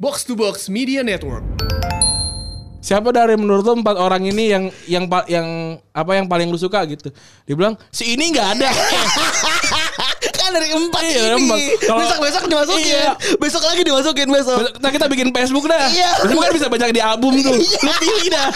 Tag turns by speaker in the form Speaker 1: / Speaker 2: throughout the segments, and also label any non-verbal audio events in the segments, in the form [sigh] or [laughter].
Speaker 1: Box to Box Media Network.
Speaker 2: Siapa dari menurut lo empat orang ini yang yang pa- yang apa yang paling lu suka gitu? Dibilang si ini nggak ada.
Speaker 3: [laughs] kan dari empat
Speaker 2: Iya,
Speaker 3: ini
Speaker 2: empat. Kalau-
Speaker 3: besok besok dimasukin
Speaker 2: Iya.
Speaker 3: besok lagi dimasukin besok
Speaker 2: Nah kita bikin Facebook dah.
Speaker 3: Iya.
Speaker 2: Lu kan bisa baca di album tuh.
Speaker 3: [laughs]
Speaker 2: Lu pilih dah.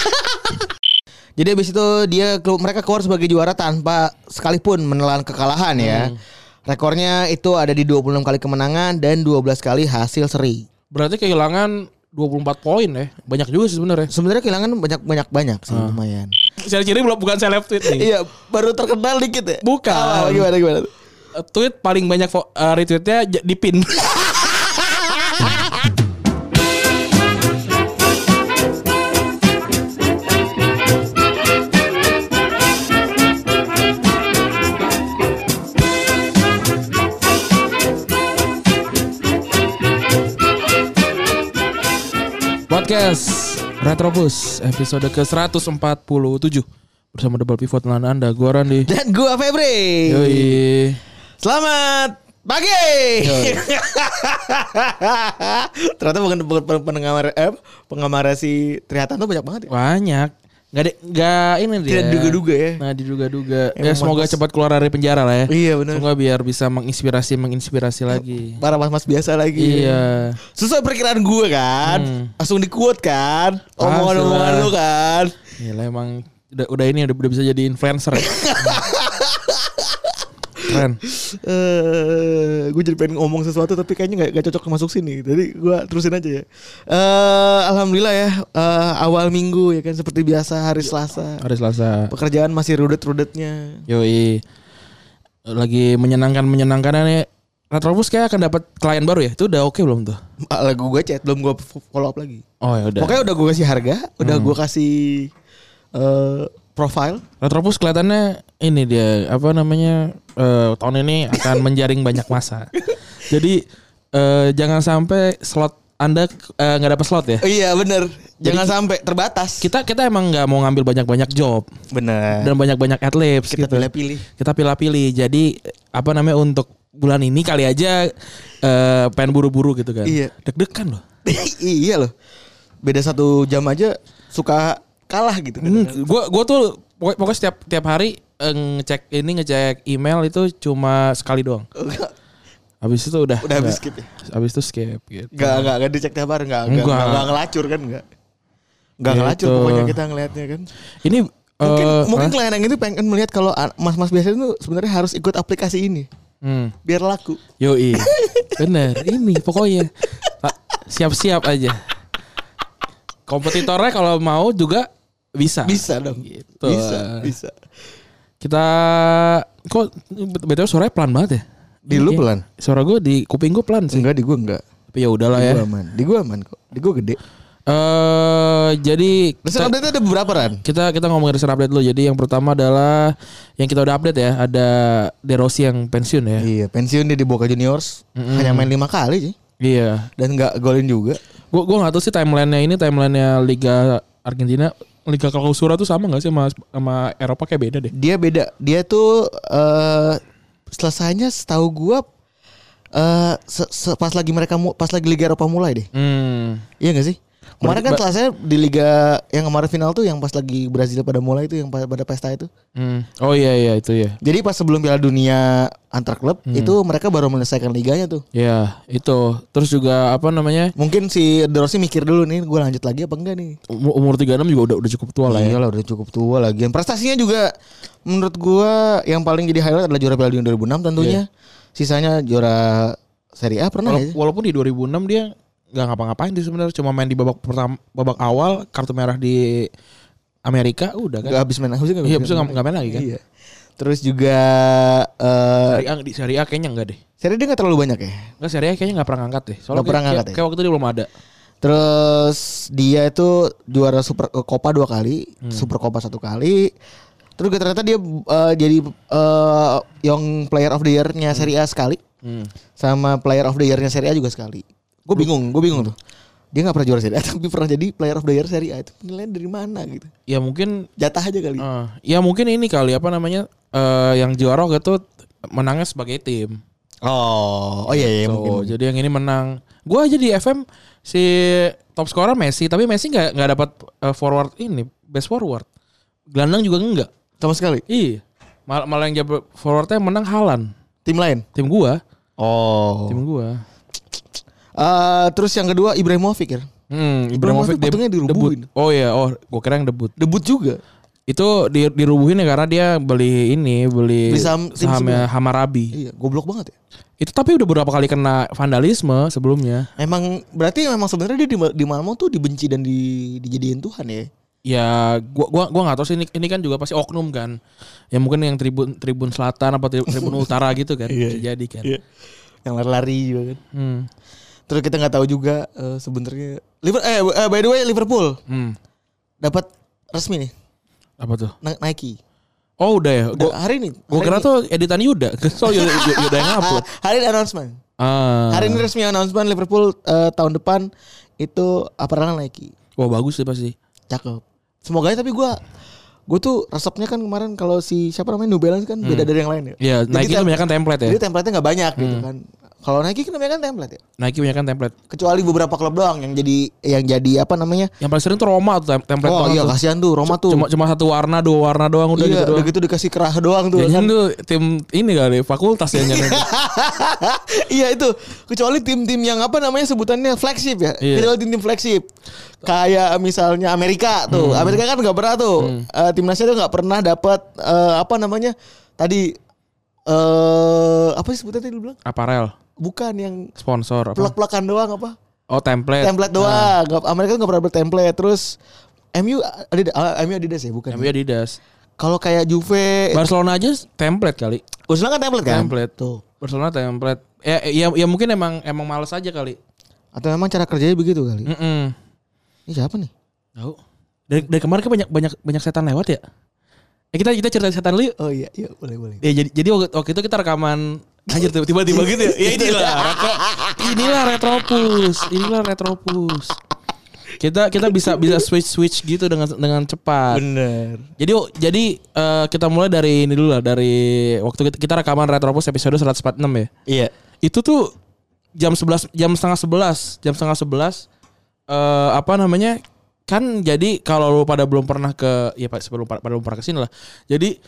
Speaker 3: jadi abis itu dia kelu- mereka keluar sebagai juara tanpa sekalipun menelan kekalahan ya
Speaker 2: Hmm.
Speaker 3: rekornya itu ada di 26 kali kemenangan dan 12 kali hasil seri
Speaker 2: Berarti kehilangan 24 poin ya. Banyak juga sih sebenarnya.
Speaker 3: sebenarnya kehilangan banyak banyak banyak sih
Speaker 2: Ah.
Speaker 3: lumayan
Speaker 2: Ciri-ciri belum bukan seleb tweet nih.
Speaker 3: iya baru terkenal dikit ya
Speaker 2: Bukan.
Speaker 3: Apa, gimana gimana
Speaker 2: Eh, Tweet paling banyak fo- eh, retweetnya j- di pin. Podcast Retropus episode ke-147 bersama Double Pivot Lan Anda, gua Randy.
Speaker 3: dan gua Febri
Speaker 2: Yoi.
Speaker 3: selamat pagi [laughs] ternyata pengen- pengen- pendengar eh, penggemar si Trihatan tuh banyak banget
Speaker 2: Iya.
Speaker 3: ya
Speaker 2: Banyak. Gak ada, gak ini dia.
Speaker 3: Tidak diduga-duga ya.
Speaker 2: Nah, diduga-duga.
Speaker 3: Emang
Speaker 2: Ya, semoga
Speaker 3: pantas.
Speaker 2: cepat keluar dari penjara lah ya.
Speaker 3: Iya, benar.
Speaker 2: Semoga biar bisa menginspirasi, menginspirasi lagi.
Speaker 3: para mas-mas biasa lagi
Speaker 2: Iya.
Speaker 3: Sesuai perkiraan gue kan
Speaker 2: Hmm.
Speaker 3: Langsung di quote kan
Speaker 2: Langsung
Speaker 3: Omongan-omongan
Speaker 2: lah.
Speaker 3: lu kan
Speaker 2: Iya. Gila emang udah, udah ini udah, udah bisa jadi influencer. [laughs] ya. Keren.
Speaker 3: eh Gue jadi pengen ngomong sesuatu Tapi kayaknya gak, gak cocok masuk sini Jadi gue terusin aja ya eh Alhamdulillah ya eh, Awal minggu ya kan Seperti biasa hari Selasa
Speaker 2: Hari Selasa.
Speaker 3: Pekerjaan masih rudet-rudetnya
Speaker 2: Yoi. Lagi menyenangkan-menyenangkannya nih. Retrobus kayak akan dapat klien baru ya. Itu udah oke belum tuh?
Speaker 3: Ah, Lagu gue chat Belum gue follow up lagi
Speaker 2: Oh ya udah.
Speaker 3: Pokoknya udah Hmm. gue kasih harga Udah gue kasih eh Profile
Speaker 2: Retropus kelihatannya ini dia apa namanya eh, tahun ini akan menjaring banyak masa. Jadi eh, jangan sampai slot Anda eh, nggak dapat slot ya.
Speaker 3: Iya bener Jangan sampai terbatas
Speaker 2: Kita kita emang nggak mau ngambil banyak-banyak job
Speaker 3: Bener
Speaker 2: dan banyak-banyak adlibs
Speaker 3: Kita
Speaker 2: gitu.
Speaker 3: pilih-pilih
Speaker 2: Kita pilih-pilih. Jadi apa namanya untuk bulan ini kali aja eh, pengen buru-buru gitu kan.
Speaker 3: Iya.
Speaker 2: Deg-degan loh.
Speaker 3: [laughs] iya loh. Beda satu jam aja suka kalah gitu.
Speaker 2: Hmm, gua gua tuh pokok- pokoknya setiap tiap hari eh, ngecek ini ngecek email itu cuma sekali doang. Habis itu udah
Speaker 3: Udah habis
Speaker 2: nggak-
Speaker 3: skip ya?
Speaker 2: Habis itu skip gitu.
Speaker 3: Gak, gak, gak dicek tiap hari. Gak, gak,
Speaker 2: Enggak.
Speaker 3: gak, gak ngelacur kan gak. Gak
Speaker 2: Ya
Speaker 3: ngelacur
Speaker 2: itu.
Speaker 3: pokoknya kita ngelihatnya kan.
Speaker 2: Ini
Speaker 3: Mungkin,
Speaker 2: eh,
Speaker 3: mungkin
Speaker 2: hah?
Speaker 3: klien yang itu pengen melihat kalau an- mas-mas biasa itu sebenarnya harus ikut aplikasi ini.
Speaker 2: hmm.
Speaker 3: Biar laku.
Speaker 2: Yoi.
Speaker 3: [laughs]
Speaker 2: Bener, ini pokoknya Ta- siap-siap aja. Kompetitornya kalau mau juga bisa.
Speaker 3: Bisa dong.
Speaker 2: Gitu.
Speaker 3: Bisa, bisa.
Speaker 2: Kita kok btw suaranya pelan banget ya?
Speaker 3: Di lu
Speaker 2: Iya.
Speaker 3: pelan? Iya.
Speaker 2: Suara gue di kuping gue pelan sih.
Speaker 3: Enggak di gua enggak.
Speaker 2: Tapi ya udahlah
Speaker 3: Di
Speaker 2: ya.
Speaker 3: gua aman. Di gua aman kok. Di gua gede.
Speaker 2: Eh jadi
Speaker 3: Terus update ada berapa Ran?
Speaker 2: kita kita ngomongin recent update dulu. Jadi yang pertama adalah yang kita udah update ya, ada De Rossi yang pensiun ya.
Speaker 3: Iya, pensiun dia di Boca Juniors. Hanya main lima kali sih.
Speaker 2: Iya.
Speaker 3: Dan gak golin juga.
Speaker 2: Gue gue nggak tahu sih timelinenya ini timelinenya Liga Argentina, Liga Clausura tuh sama nggak sih sama sama Eropa kayak beda deh.
Speaker 3: dia beda dia tuh eh selesainya setahu gua eh se- se- pas lagi mereka mu- pas lagi Liga Eropa mulai deh
Speaker 2: Hmm.
Speaker 3: iya gak sih kemarin kan
Speaker 2: Berarti-
Speaker 3: selesainya di Liga yang kemarin final tuh yang pas lagi Brazil pada mulai itu yang pa- pada pesta itu
Speaker 2: Hmm. Oh iya iya itu ya.
Speaker 3: jadi pas sebelum Piala Dunia antar klub itu mereka baru menyelesaikan liganya tuh
Speaker 2: Ya itu. Terus juga apa namanya
Speaker 3: mungkin si De Rossi mikir dulu nih gua lanjut lagi apa enggak nih
Speaker 2: um- umur 36 juga udah udah cukup tua lah ya.
Speaker 3: Iyalah Iya udah cukup tua lagi. Yang prestasinya juga menurut gua yang paling jadi highlight adalah juara Piala Dunia 2006 tentunya. Sisanya juara Serie A pernah ya?
Speaker 2: Wala-
Speaker 3: nggak sih?
Speaker 2: walaupun di 2006 dia nggak ngapa-ngapain sih sebenarnya cuma main di babak pertama babak awal kartu merah di Amerika udah kan.
Speaker 3: Gak habis main habis
Speaker 2: Iya, habis itu nggak- nggak main lagi kan?
Speaker 3: Iya. Terus juga eh
Speaker 2: Seri A, di Serie A kayaknya enggak deh.
Speaker 3: Serie D nggak terlalu banyak ya.
Speaker 2: Enggak Serie A kayaknya nggak pernah ngangkat deh. Soalnya
Speaker 3: Nggak pernah
Speaker 2: kayak-
Speaker 3: ngangkat ya?
Speaker 2: kayak, kayak waktu itu dia belum ada.
Speaker 3: Terus dia itu juara Super eh, Copa dua kali, Super Copa satu kali. Terus juga ternyata dia eh, jadi eh, Young Player of the Year-nya Serie A sekali.
Speaker 2: Hmm.
Speaker 3: sama player of the year-nya Serie A juga sekali. Gue bingung, gue bingung tuh. Dia nggak pernah juara Serie A [laughs] tapi pernah jadi player of the year Serie A itu penilaian dari mana gitu?
Speaker 2: Ya mungkin
Speaker 3: Jatah aja kali.
Speaker 2: Ah, ya mungkin ini kali apa namanya eh, yang juara waktu itu menangnya sebagai tim.
Speaker 3: Oh, oh iya iya
Speaker 2: Tuh, Jadi yang ini menang. Gua aja di FM si top scorer Messi, tapi Messi nggak nggak dapat eh, forward ini best forward. Gelandang juga enggak.
Speaker 3: Sama sekali.
Speaker 2: Iya. Mal- malah yang jadi forwardnya yang menang Halan.
Speaker 3: Tim lain.
Speaker 2: Tim gua,
Speaker 3: Oh.
Speaker 2: tim gua.
Speaker 3: Eh, terus yang kedua Ibrahimovic ya.
Speaker 2: Hmm,
Speaker 3: Ibrahimovic
Speaker 2: Ibrahimovic deb-
Speaker 3: patungnya dirubuhin.
Speaker 2: debut. Oh iya, oh gua kira yang debut.
Speaker 3: Debut juga.
Speaker 2: Itu di- dirubuhin ya karena dia beli ini, beli,
Speaker 3: Beli saham tim
Speaker 2: sahamnya Hamarabi.
Speaker 3: Iya, goblok banget ya.
Speaker 2: Itu tapi udah beberapa kali kena vandalisme sebelumnya.
Speaker 3: Emang berarti memang sebenarnya dia di, di Malmo tuh dibenci dan di, dijadiin Tuhan ya.
Speaker 2: Ya gua gua gua nggak tahu sih ini, ini kan juga pasti oknum kan. Ya mungkin yang tribun tribun selatan apa tri-
Speaker 3: [laughs]
Speaker 2: tribun utara gitu kan.
Speaker 3: Iya,
Speaker 2: Bisa jadi kan.
Speaker 3: Yang lari-lari juga kan.
Speaker 2: Hmm.
Speaker 3: Terus kita nggak tahu juga eh, sebenarnya Liver eh eh, by the way Liverpool
Speaker 2: Hmm.
Speaker 3: dapat resmi nih
Speaker 2: Apa tuh?
Speaker 3: Na- Nike.
Speaker 2: Oh udah ya. Gua
Speaker 3: Udah hari ini.
Speaker 2: gua
Speaker 3: hari
Speaker 2: kira
Speaker 3: ini.
Speaker 2: tuh editan Yuda. [laughs] So Yuda, Yuda yang
Speaker 3: Ah, [laughs]
Speaker 2: upload.
Speaker 3: hari ini announcement.
Speaker 2: Ah.
Speaker 3: Hari ini resmi announcement Liverpool eh, tahun depan itu apparel Nike.
Speaker 2: Wah bagus sih pasti.
Speaker 3: Cakep. Semoga aja tapi gua gue tuh resepnya kan kemarin kalau si siapa namanya New Balance kan beda dari yang lain
Speaker 2: Ya,
Speaker 3: ya.
Speaker 2: Hmm.
Speaker 3: Jadi
Speaker 2: Nike
Speaker 3: tem-
Speaker 2: itu banyak kan template ya.
Speaker 3: Jadi template-nya nggak banyak gitu kan. Kalau Nike kan namanya kan template ya.
Speaker 2: Nike banyak kan template.
Speaker 3: Kecuali beberapa klub doang yang jadi yang jadi apa namanya?
Speaker 2: Yang paling sering tuh Roma tuh tem- template
Speaker 3: Oh
Speaker 2: banget
Speaker 3: iya
Speaker 2: tuh.
Speaker 3: kasihan tuh Roma tuh.
Speaker 2: Cuma cuma satu warna, dua warna doang udah
Speaker 3: iya,
Speaker 2: gitu
Speaker 3: udah
Speaker 2: doang. Iya.
Speaker 3: gitu dikasih kerah doang tuh.
Speaker 2: Jangan
Speaker 3: kan.
Speaker 2: tuh tim ini kali fakultas ya nyari.
Speaker 3: [laughs] iya itu. Kecuali tim-tim yang apa namanya sebutannya flagship ya.
Speaker 2: Iya.
Speaker 3: Kecuali tim-tim flagship. Kayak misalnya Amerika tuh.
Speaker 2: Hmm.
Speaker 3: Amerika kan nggak pernah tuh. Eh, timnasnya tuh nggak pernah dapat eh, apa namanya tadi eh apa sih sebutannya tadi lu bilang?
Speaker 2: Aparel,
Speaker 3: Bukan yang
Speaker 2: sponsor apa?
Speaker 3: plek-plekan doang apa?
Speaker 2: Oh, template.
Speaker 3: Template doang. Nggak- Amerika tuh nggak pernah dapat template. Terus MU Adidas, ah, MU Adidas ya bukan.
Speaker 2: Yang punya Adidas.
Speaker 3: Kalau kayak Juve,
Speaker 2: Barcelona aja template kali.
Speaker 3: Barcelona kan template kan?
Speaker 2: Template.
Speaker 3: Tuh.
Speaker 2: Barcelona template. Ya, ya, ya mungkin emang emang males aja kali.
Speaker 3: Atau memang cara kerjanya begitu kali?
Speaker 2: Mm-mm.
Speaker 3: Ini siapa nih?
Speaker 2: Tahu. Dari, dari kemarin kan banyak banyak banyak setan lewat ya. Eh kita kita cerita setan dulu yuk.
Speaker 3: Oh iya, iya boleh boleh.
Speaker 2: Ya jadi jadi waktu, waktu itu kita rekaman anjir tiba-tiba gitu ya. Ya inilah retro, inilah retropus, inilah retropus. Kita kita bisa bisa switch switch gitu dengan dengan cepat.
Speaker 3: Bener.
Speaker 2: Jadi jadi eh, kita mulai dari ini dulu lah dari waktu kita, kita rekaman Retropus episode 146 ya.
Speaker 3: Iya.
Speaker 2: Itu tuh jam 11 jam setengah 11, jam setengah 11 eh apa namanya? Kan jadi kalau lu pada belum pernah ke ya Pak sebelum pada belum pernah ke sini lah. Jadi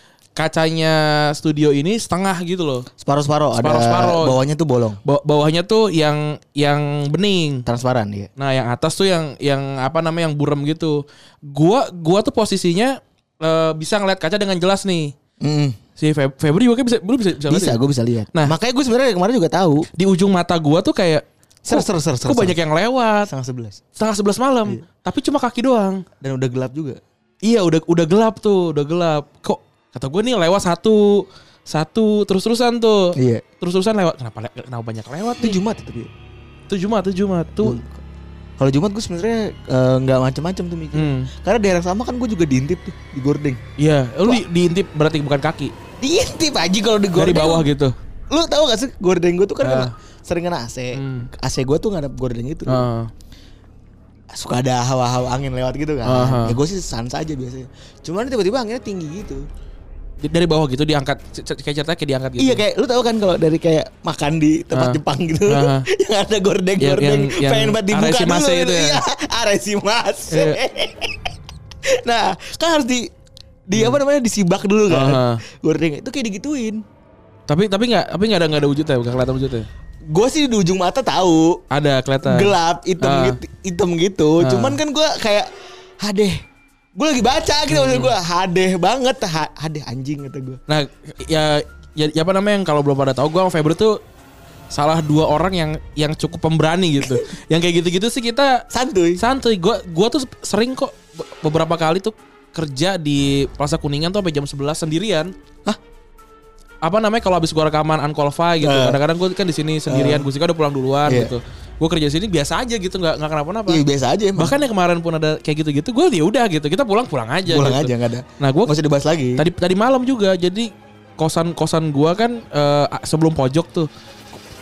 Speaker 2: kacanya studio ini setengah gitu loh.
Speaker 3: Separuh-separuh ada
Speaker 2: Separuh-separuh.
Speaker 3: bawahnya tuh bolong.
Speaker 2: Ba- bawahnya tuh yang yang bening.
Speaker 3: Transparan iya. dia.
Speaker 2: Nah, yang atas tuh yang yang apa namanya yang buram gitu. Gua gua tuh posisinya eh, bisa ngeliat kaca dengan jelas nih.
Speaker 3: Mm,
Speaker 2: Si Feb Febri juga bisa belum bisa bisa,
Speaker 3: bisa
Speaker 2: ngeliat ya?
Speaker 3: gue bisa lihat.
Speaker 2: Nah.
Speaker 3: makanya gue sebenarnya kemarin juga tahu.
Speaker 2: Di ujung mata gua tuh kayak
Speaker 3: Ser
Speaker 2: kok,
Speaker 3: ser ser ser.
Speaker 2: kok banyak yang lewat
Speaker 3: setengah sebelas
Speaker 2: setengah sebelas malam,
Speaker 3: Iya.
Speaker 2: tapi cuma kaki doang.
Speaker 3: dan udah gelap juga.
Speaker 2: Iya, udah udah gelap tuh, udah gelap. Kok kata gua nih lewat satu satu terus-terusan tuh.
Speaker 3: Iya.
Speaker 2: Terus-terusan lewat. Kenapa le- kenapa banyak lewat nih?
Speaker 3: Itu Jumat ya, tapi.
Speaker 2: Tuh Jumat, tuh Jumat. Tuh.
Speaker 3: Iya. Kalau Jumat gue sebenarnya eh, nggak macam-macam tuh mikir.
Speaker 2: Hmm.
Speaker 3: Karena daerah sama kan gue juga diintip tuh, digordeng.
Speaker 2: Iya, lu di- diintip berarti bukan kaki.
Speaker 3: Diintip aja kalau digordeng.
Speaker 2: Dari bawah gitu.
Speaker 3: Lu tahu gak sih gordeng gue tuh kan
Speaker 2: Ah.
Speaker 3: kena- sering kena AC.
Speaker 2: Hmm. Ah.
Speaker 3: AC gue tuh ngadap gordeng itu.
Speaker 2: Heeh.
Speaker 3: suka ada hawa-hawa angin lewat gitu kan.
Speaker 2: Aha.
Speaker 3: Ya gue sih sans aja biasanya. Cuman tiba-tiba anginnya tinggi gitu.
Speaker 2: Di- dari bawah gitu diangkat C- c- kayak ceritanya kayak diangkat gitu.
Speaker 3: Iya kayak lu tahu kan kalau dari kayak makan di
Speaker 2: Ah.
Speaker 3: tempat Jepang gitu.
Speaker 2: Ah.
Speaker 3: [laughs] yang ada gorden-gorden
Speaker 2: Yang- yang-
Speaker 3: pengen
Speaker 2: yang
Speaker 3: banget dibuka
Speaker 2: Aresimase itu ya.
Speaker 3: Iya, [laughs] aresimase.
Speaker 2: Iya.
Speaker 3: [laughs] nah, kan harus di di
Speaker 2: Hmm.
Speaker 3: apa namanya disibak dulu kan.
Speaker 2: Aha.
Speaker 3: Gorden itu kayak digituin.
Speaker 2: Tapi tapi nggak tapi nggak ada nggak ada wujudnya, nggak kelihatan wujudnya.
Speaker 3: Gue sih di ujung mata tahu
Speaker 2: Ada kelihatan.
Speaker 3: gelap hitam
Speaker 2: Ah.
Speaker 3: gitu, hitam gitu.
Speaker 2: Ah.
Speaker 3: Cuman kan gue kayak hadeh. Gue lagi baca gitu
Speaker 2: Hmm.
Speaker 3: maksud gue hadeh banget ha- hadeh anjing kata gue.
Speaker 2: Nah, ya, ya, ya apa namanya yang kalau belum pada tahu gua sama Febri tuh salah dua orang yang yang cukup pemberani
Speaker 3: [laughs]
Speaker 2: gitu. yang kayak gitu-gitu sih kita
Speaker 3: Santuy.
Speaker 2: santuy. Gua gua tuh sering kok be- beberapa kali tuh kerja di Plaza Kuningan tuh sampai jam 11 sendirian. Hah? Apa namanya kalau habis gua rekaman unqualified gitu.
Speaker 3: Eh.
Speaker 2: Kadang-kadang gua kan di sini sendirian, Gusika udah pulang duluan
Speaker 3: Iya.
Speaker 2: gitu. Gua kerja di sini biasa aja gitu, nggak nggak kenapa-napa.
Speaker 3: Iya biasa aja emang.
Speaker 2: Bahkan yang kemarin pun ada kayak gitu-gitu, gue ya udah gitu. Kita pulang pulang aja.
Speaker 3: pulang
Speaker 2: gitu.
Speaker 3: aja nggak ada.
Speaker 2: Nah gue
Speaker 3: Gak usah dibahas lagi.
Speaker 2: tadi tadi malam juga. Jadi kosan kosan gue kan eh, sebelum pojok tuh,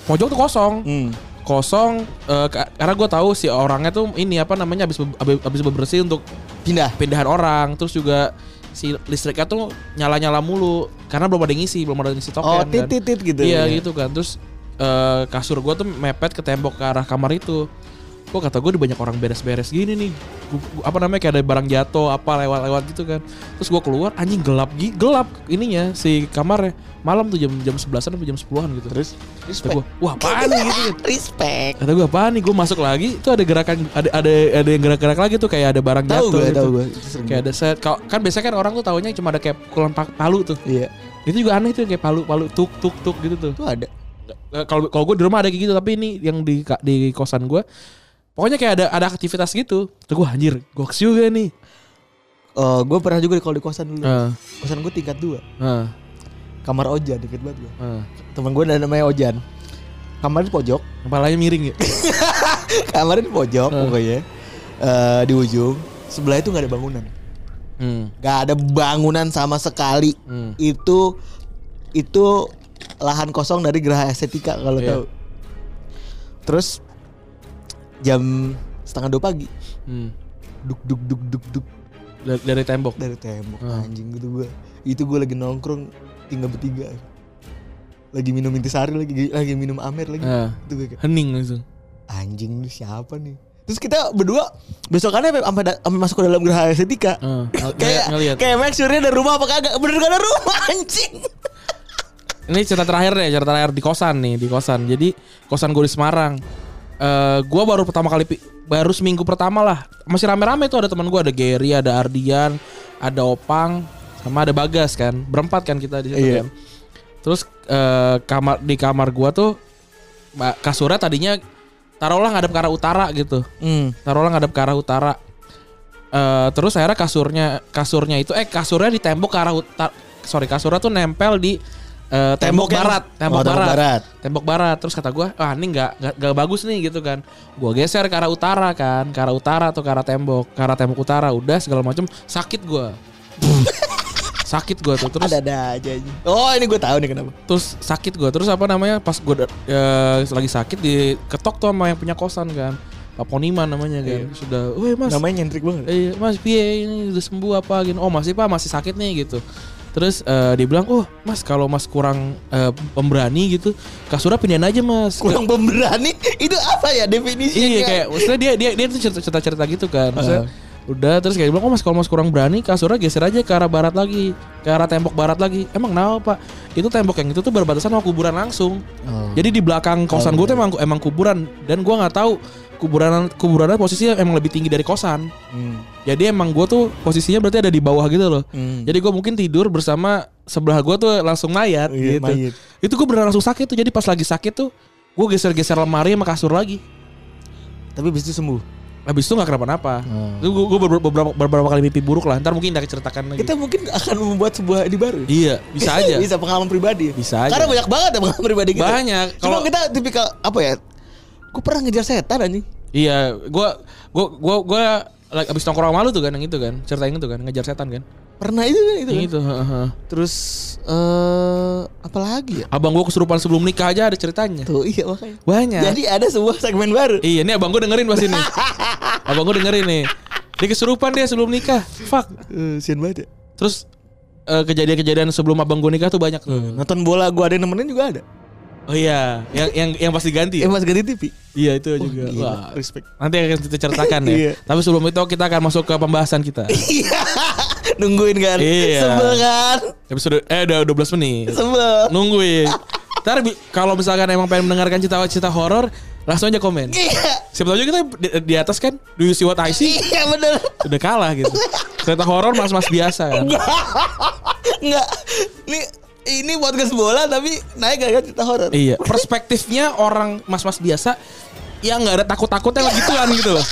Speaker 2: pojok tuh kosong,
Speaker 3: Hmm.
Speaker 2: kosong. eh, ka- karena gue tahu si orangnya tuh ini apa namanya habis be- habis, habis bebersih untuk
Speaker 3: Pindah.
Speaker 2: pindahan orang. Terus juga si listriknya tuh nyala nyala mulu karena belum ada yang ngisi, belum ada yang ngisi token.
Speaker 3: Oh
Speaker 2: kan.
Speaker 3: tit tit tit gitu.
Speaker 2: Iya
Speaker 3: ya.
Speaker 2: gitu kan. Terus eh, kasur gua tuh mepet ke tembok ke arah kamar itu. kok kata gue banyak orang beres-beres gini nih Gu- gu- apa namanya kayak ada barang jatuh apa lewat-lewat gitu kan terus gue keluar anjing gelap gi- gelap ininya si kamarnya malam tuh jam jam sebelasan atau jam sepuluhan gitu terus kata gue wah apaan nih gitu kan.
Speaker 3: [laughs] Respect.
Speaker 2: kata gue apaan nih gue masuk lagi tuh ada gerakan ada ada ada yang gerak-gerak lagi tuh kayak ada barang
Speaker 3: Tahu
Speaker 2: jatuh
Speaker 3: gue,
Speaker 2: gitu.
Speaker 3: tahu gue.
Speaker 2: kayak ada set kalau- kan biasanya kan orang tuh taunya cuma ada kayak pukulan pa- palu tuh
Speaker 3: Iya.
Speaker 2: itu juga aneh tuh kayak palu palu tuk tuk tuk gitu tuh
Speaker 3: Itu ada.
Speaker 2: Eh, kalau kalau gue di rumah ada kayak gitu tapi ini yang di ka- di kosan gue pokoknya kayak ada ada aktivitas gitu tuh gue anjir goks juga nih
Speaker 3: Eh, gue pernah juga di- kalau di kosan dulu.
Speaker 2: Heeh.
Speaker 3: Kosan gue tingkat 2
Speaker 2: Heeh.
Speaker 3: Kamar Ojan deket banget gue.
Speaker 2: nah,
Speaker 3: Temen gue namanya Ojan. Kamarnya di pojok.
Speaker 2: kepalanya miring ya
Speaker 3: Kamarnya di pojok pokoknya. Eh, di ujung. Sebelah itu nggak ada bangunan.
Speaker 2: hmm.
Speaker 3: Gak ada bangunan sama sekali.
Speaker 2: Hmm.
Speaker 3: Itu itu lahan kosong dari Geraha Estetika kalau
Speaker 2: Iya.
Speaker 3: tahu. Terus jam setengah dua pagi
Speaker 2: Hmm.
Speaker 3: duk duk duk duk duk
Speaker 2: Dari, dari tembok
Speaker 3: dari tembok anjing gitu gue itu gue lagi nongkrong tinggal bertiga lagi minum intisari lagi lagi minum amer lagi
Speaker 2: Heeh.
Speaker 3: itu gue kayak,
Speaker 2: hening langsung
Speaker 3: anjing lu siapa nih terus kita berdua besokannya sampai- sampai da- sampai masuk ke dalam geraha estetika [laughs]
Speaker 2: Heeh. [laughs] Ngel-
Speaker 3: kayak
Speaker 2: Hmm. Nah, ngeliat.
Speaker 3: kayak make sure ada rumah apa kagak bener gak ada rumah [laughs] anjing
Speaker 2: ini cerita terakhir deh cerita terakhir di kosan nih di kosan jadi kosan gue di Semarang Eh gue baru pertama kali pi- baru seminggu pertama lah masih rame-rame tuh ada teman gue ada Gary ada Ardian ada Opang sama ada Bagas kan berempat kan kita di situ
Speaker 3: Iya.
Speaker 2: kan terus eh kamar di kamar gue tuh ba- kasurnya tadinya taruhlah ngadep ke arah utara gitu
Speaker 3: hmm.
Speaker 2: taruhlah ngadep ke arah utara Eh terus akhirnya kasurnya kasurnya itu eh kasurnya di tembok ke arah utara sorry kasurnya tuh nempel di eh, tembok,
Speaker 3: Tembok yang-
Speaker 2: barat tembok
Speaker 3: Oh, tembok
Speaker 2: barat.
Speaker 3: barat.
Speaker 2: tembok barat terus kata gua ah ini nggak nggak- nggak bagus nih gitu kan gua geser ke arah utara kan ke arah utara atau ke arah tembok ke arah tembok utara udah segala macam sakit gua
Speaker 3: [laughs]
Speaker 2: sakit gua tuh terus
Speaker 3: ada ada aja anjing. oh ini gue tahu nih kenapa
Speaker 2: terus sakit gue terus apa namanya pas gue lagi sakit diketok tuh sama yang punya kosan kan Pak Poniman namanya
Speaker 3: Iya.
Speaker 2: kan sudah weh mas
Speaker 3: namanya nyentrik banget
Speaker 2: eh, mas piye ini udah sembuh apa gitu oh masih pak masih sakit nih gitu terus eh, dia bilang oh mas kalau mas kurang eh, pemberani gitu kasurnya pindahin aja mas Ke-
Speaker 3: kurang pemberani [laughs] itu apa ya definisinya
Speaker 2: [laughs] Iya kayak maksudnya dia dia dia tuh cerita cerita, cerita gitu kan. Maksudnya, udah terus kayak dia bilang oh mas kalau mas kurang berani kasurnya geser aja ke arah barat lagi ke arah tembok barat lagi emang kenapa pak itu tembok yang itu tuh berbatasan sama kuburan langsung
Speaker 3: Oh.
Speaker 2: jadi di belakang kosan gue tuh emang emang kuburan dan gua nggak tahu kuburan kuburannya posisinya emang lebih tinggi dari kosan
Speaker 3: Hmm.
Speaker 2: jadi emang gue tuh posisinya berarti ada di bawah gitu loh
Speaker 3: Hmm.
Speaker 2: jadi gue mungkin tidur bersama sebelah gue tuh langsung mayat
Speaker 3: Iya,
Speaker 2: gitu
Speaker 3: mayat.
Speaker 2: itu gue beneran langsung sakit tuh jadi pas lagi sakit tuh gue geser-geser lemari sama kasur lagi
Speaker 3: tapi bis itu sembuh
Speaker 2: Habis itu gak kenapa-napa.
Speaker 3: Hmm.
Speaker 2: Itu gue beberapa, beberapa kali mimpi buruk lah. Ntar mungkin kita ceritakan lagi.
Speaker 3: kita mungkin akan membuat sebuah ini baru ya?
Speaker 2: iya,
Speaker 3: [laughs]
Speaker 2: bisa aja.
Speaker 3: bisa pengalaman pribadi
Speaker 2: Bisa aja.
Speaker 3: karena banyak banget ya pengalaman pribadi kita
Speaker 2: Banyak.
Speaker 3: kalau
Speaker 2: Kalau
Speaker 3: kita tipikal apa ya gue pernah ngejar setan anjing
Speaker 2: iya, gua gua gua gua like, abis nongkrong malu tuh kan yang itu kan. Cerita yang itu kan, ngejar setan kan.
Speaker 3: pernah itu kan itu kan?
Speaker 2: Yang itu, heeh.
Speaker 3: terus eh apa lagi ya
Speaker 2: Abang gua kesurupan sebelum nikah aja ada ceritanya.
Speaker 3: tuh iya makanya
Speaker 2: Banyak.
Speaker 3: jadi ada sebuah segmen baru
Speaker 2: Iya, ini abang gua dengerin pas
Speaker 3: [laughs]
Speaker 2: ini. abang gua dengerin nih. Dia kesurupan dia sebelum nikah. Fuck.
Speaker 3: Eh, sian banget ya
Speaker 2: Terus eh, kejadian-kejadian sebelum abang gua nikah tuh banyak tuh.
Speaker 3: nonton bola gue ada yang nemenin juga ada
Speaker 2: Oh iya, yang yang yang pasti ganti. ya?
Speaker 3: eh mas ganti TV
Speaker 2: Iya, itu
Speaker 3: Wah,
Speaker 2: juga.
Speaker 3: Oh, gila,
Speaker 2: Wah,
Speaker 3: respect
Speaker 2: Nanti akan kita ceritakan ya.
Speaker 3: [laughs] Iya.
Speaker 2: Tapi sebelum itu kita akan masuk ke pembahasan kita.
Speaker 3: Iya, [laughs] nungguin kan
Speaker 2: Iya.
Speaker 3: sebel kan
Speaker 2: Episode eh udah 12 menit.
Speaker 3: sebel
Speaker 2: Nungguin. Ntar bi- kalau misalkan emang pengen mendengarkan cerita-cerita horor, langsung aja komen.
Speaker 3: iya
Speaker 2: Siapa tahu aja kita di, di atas kan, do you see what I see?
Speaker 3: iya bener
Speaker 2: Udah kalah gitu. Cerita horor mas-mas biasa kan.
Speaker 3: Enggak. Ini ini podcast bola tapi naik gara-gara cerita horor.
Speaker 2: Iya, perspektifnya orang mas-mas biasa yang nggak ada takut-takutnya lagi gituan gitu loh.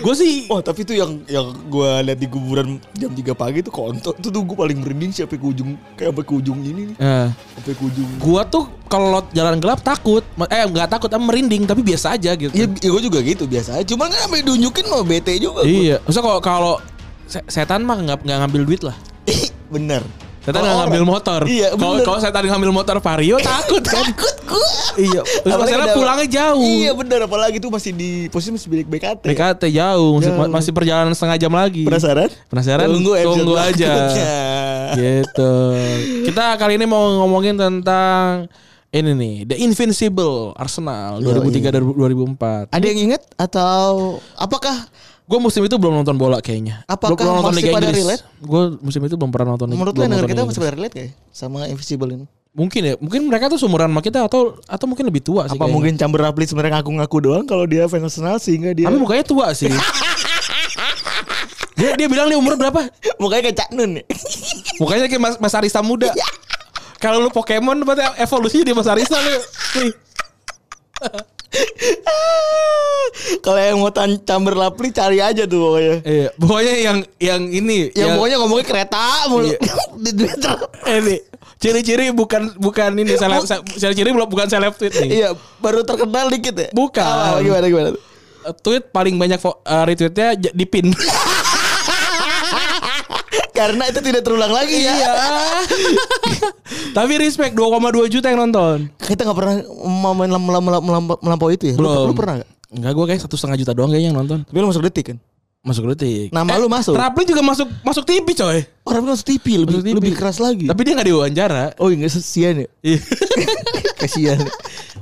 Speaker 2: Gue sih
Speaker 3: Oh, tapi itu yang yang gua lihat di kuburan jam 3 pagi itu kontol. Itu tuh gua paling merinding siapa ke ujung kayak sampai ke ujung ini nih.
Speaker 2: eh,
Speaker 3: Sampai ke ujung.
Speaker 2: gua tuh kalau lewat jalan gelap takut, eh nggak takut, em, merinding tapi biasa aja gitu.
Speaker 3: Ya, ya gua juga gitu biasa. aja. Cuman kan sampai diunjukin mau bete juga [laughs] gua.
Speaker 2: Iya, maksudnya kalau kalau se- setan mah nggak nggak ngambil duit lah.
Speaker 3: Bener.
Speaker 2: Setan
Speaker 3: Kalau
Speaker 2: nggak ngambil
Speaker 3: orang-
Speaker 2: motor.
Speaker 3: Iya,
Speaker 2: kalau
Speaker 3: bener.
Speaker 2: kalau setan ngambil motor Vario takut kan.
Speaker 3: Takut gua.
Speaker 2: iya. Terus
Speaker 3: Apalagi
Speaker 2: masalah
Speaker 3: ada-
Speaker 2: pulangnya jauh.
Speaker 3: Iya bener apalagi tuh masih di posisi masih bilik BKT.
Speaker 2: PKT jauh, masih,
Speaker 3: Jauh.
Speaker 2: masih perjalanan setengah jam lagi.
Speaker 3: Penasaran?
Speaker 2: Penasaran?
Speaker 3: Tunggu, Iya. episode
Speaker 2: Tunggu aja. Iya.
Speaker 3: berikutnya.
Speaker 2: gitu. Kita kali ini mau ngomongin tentang ini nih The Invincible Arsenal
Speaker 3: Yoi.
Speaker 2: 2003 dari 2004.
Speaker 3: Ada yang inget atau apakah
Speaker 2: Gue musim itu belum nonton bola kayaknya.
Speaker 3: Apakah
Speaker 2: belum, belum nonton
Speaker 3: masih
Speaker 2: Liga
Speaker 3: pada
Speaker 2: Inggris.
Speaker 3: relate?
Speaker 2: Gue musim itu belum pernah nonton.
Speaker 3: menurut lo
Speaker 2: belum
Speaker 3: yang denger
Speaker 2: nonton Liga
Speaker 3: kita masih
Speaker 2: Inggris.
Speaker 3: pada relate gak sama Invisible ini?
Speaker 2: Mungkin ya, mungkin mereka tuh seumuran sama kita atau atau mungkin lebih tua sih.
Speaker 3: Apa
Speaker 2: kayaknya.
Speaker 3: mungkin Chamber Rapli sebenarnya ngaku-ngaku doang kalau dia fans Arsenal sehingga dia
Speaker 2: Tapi mukanya tua sih. dia dia bilang dia umur berapa?
Speaker 3: mukanya kayak Cak Nun ya? [laughs]
Speaker 2: Mukanya kayak Mas, Mas Arista muda. Kalau lu Pokemon berarti evolusinya di Mas Arista lu. Nih.
Speaker 3: Ah. kalau yang mau tan- Chamber Rapli cari aja tuh pokoknya.
Speaker 2: Iya, pokoknya yang yang ini
Speaker 3: Yang Ya, pokoknya ngomongnya kereta mulu
Speaker 2: Iya.
Speaker 3: [laughs] di Twitter.
Speaker 2: ini Eh, ciri-ciri bukan bukan ini seleb se- ciri-ciri belum bukan seleb tweet nih.
Speaker 3: Iya, baru terkenal dikit ya.
Speaker 2: Bukan.
Speaker 3: Awal, gimana gimana?
Speaker 2: Eh, Tweet paling banyak fo- eh, retweetnya j- di
Speaker 3: [laughs]
Speaker 2: pin.
Speaker 3: Karena itu tidak terulang lagi ya.
Speaker 2: Iya. Tapi respect 2,2 juta yang nonton.
Speaker 3: Kita nggak pernah mau main lam- lam- lam- lam- melampau itu ya. Lu- Lu, pernah gak?
Speaker 2: Enggak, gue kayak satu setengah juta doang kayaknya yang nonton.
Speaker 3: Tapi lu masuk detik kan?
Speaker 2: Masuk detik.
Speaker 3: Nama lu masuk.
Speaker 2: Rapli juga masuk masuk TV coy.
Speaker 3: Orang lu masuk TV lebih
Speaker 2: Masuk TV.
Speaker 3: lebih keras lagi.
Speaker 2: Tapi dia nggak diwawancara.
Speaker 3: Oh enggak sesian ya
Speaker 2: [laughs]
Speaker 3: [laughs]
Speaker 2: Iya.
Speaker 3: Kasian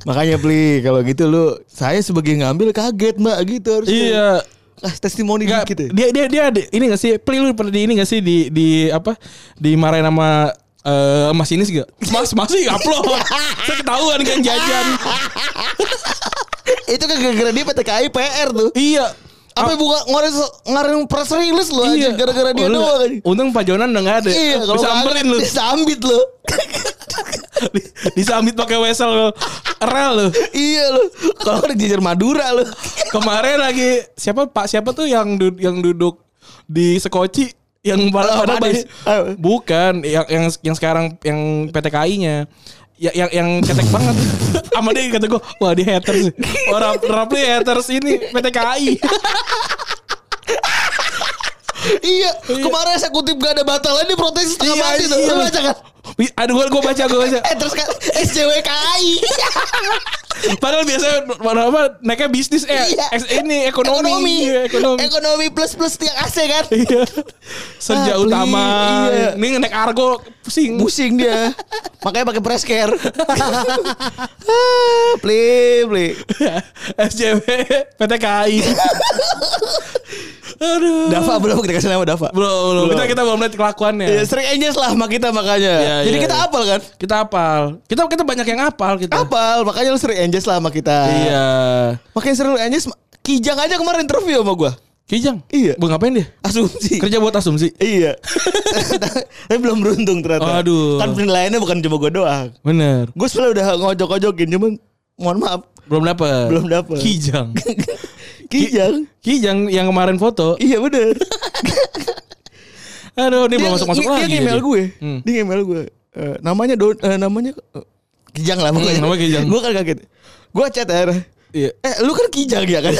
Speaker 3: Makanya beli Kalau gitu lu Saya sebagai ngambil kaget mbak gitu harus
Speaker 2: iya.
Speaker 3: Kasih testimoni
Speaker 2: Nggak,
Speaker 3: dikit ya
Speaker 2: dia dia dia ada- ini gak sih? Pli lu pernah di ini gak sih di di apa? Dimarahin sama eh mas ini sih gak? Mas masih
Speaker 3: [laughs]
Speaker 2: upload. Saya ketahuan kan jajan.
Speaker 3: Itu kan gara-gara dia PTKI PR tuh
Speaker 2: iya.
Speaker 3: Apa buka ngeluarin ngeluarin press release lu aja Gara-gara
Speaker 2: Oh,
Speaker 3: dia
Speaker 2: lu-
Speaker 3: doang aja
Speaker 2: Untung Pak Jonan udah gak ada.
Speaker 3: Iya kalau
Speaker 2: Disamperin
Speaker 3: nggak
Speaker 2: lu.
Speaker 3: ada, Disambit lu
Speaker 2: [laughs] Di- Disambit pakai wesel lu. Rel lu.
Speaker 3: Iya lu Kalau ada jajar Madura
Speaker 2: [laughs]
Speaker 3: lu
Speaker 2: Kemarin lagi siapa Pak siapa tuh yang duduk yang duduk di Sekoci yang pada
Speaker 3: Oh,
Speaker 2: pada
Speaker 3: Badis.
Speaker 2: banyak- bukan yang yang yang sekarang yang PTKI-nya Ya, yang yang cetek banget [laughs] sama dia kata gue wah dia haters Oh, orang rapli haters ini PTKI
Speaker 3: Iya Kemarin saya kutip gak ada batalan Dia protes setengah
Speaker 2: Iya,
Speaker 3: mati tuh
Speaker 2: iya.
Speaker 3: [laughs] Lu baca kan
Speaker 2: Wih, aduh gue gue baca gue baca
Speaker 3: Eh terus kan SJWKI
Speaker 2: padahal biasanya padahal apa naiknya bisnis eh
Speaker 3: Iya.
Speaker 2: eks- ini [laughs] ekonomi
Speaker 3: ekonomi
Speaker 2: Iya, ekonomi
Speaker 3: Ekonomi plus plus tiang AC kan
Speaker 2: iya senja
Speaker 3: Rapli,
Speaker 2: utama
Speaker 3: iya.
Speaker 2: ini naik argo pusing [laughs]
Speaker 3: pusing dia makanya pakai press care Ah, beli beli
Speaker 2: [laughs] SJW PTKI.
Speaker 3: [laughs]
Speaker 2: Aduh.
Speaker 3: Dava belum kita kasih nama Dava
Speaker 2: Belum, belum. Kita kita belum lihat kelakuannya.
Speaker 3: ya, sering aja lah sama kita makanya
Speaker 2: Iya,
Speaker 3: jadi
Speaker 2: iya,
Speaker 3: kita
Speaker 2: iya.
Speaker 3: apal kan
Speaker 2: Kita apal. Kita kita banyak yang apal kita.
Speaker 3: apal makanya lu sering enjes lah sama kita
Speaker 2: Iya.
Speaker 3: makanya sering lu enjes kijang aja kemarin interview sama gua
Speaker 2: Kijang.
Speaker 3: Iya.
Speaker 2: Bu ngapain dia?
Speaker 3: asumsi
Speaker 2: Kerja buat asumsi.
Speaker 3: iya
Speaker 2: [laughs]
Speaker 3: tapi belum beruntung ternyata
Speaker 2: Aduh.
Speaker 3: kan penilaiannya bukan cuma gua doang
Speaker 2: Bener.
Speaker 3: gua sebenarnya udah ngojok-ngojokin cuman mohon
Speaker 2: [laughs]
Speaker 3: maaf
Speaker 2: Belum dapet.
Speaker 3: Belum dapet.
Speaker 2: Kijang.
Speaker 3: [laughs] kijang
Speaker 2: Kijang yang kemarin foto.
Speaker 3: iya
Speaker 2: [laughs]
Speaker 3: bener
Speaker 2: Aduh, ini belum
Speaker 3: dia-
Speaker 2: masuk masuk
Speaker 3: dia-
Speaker 2: lagi.
Speaker 3: Dia email gue.
Speaker 2: Hmm.
Speaker 3: Dia email gue. Eh, namanya do, eh, namanya eh, Kijang lah pokoknya.
Speaker 2: Hmm, namanya
Speaker 3: [laughs]
Speaker 2: Kijang.
Speaker 3: gue kan kaget. Gue chat akhirnya.
Speaker 2: Iya.
Speaker 3: Eh, lu kan Kijang ya kan?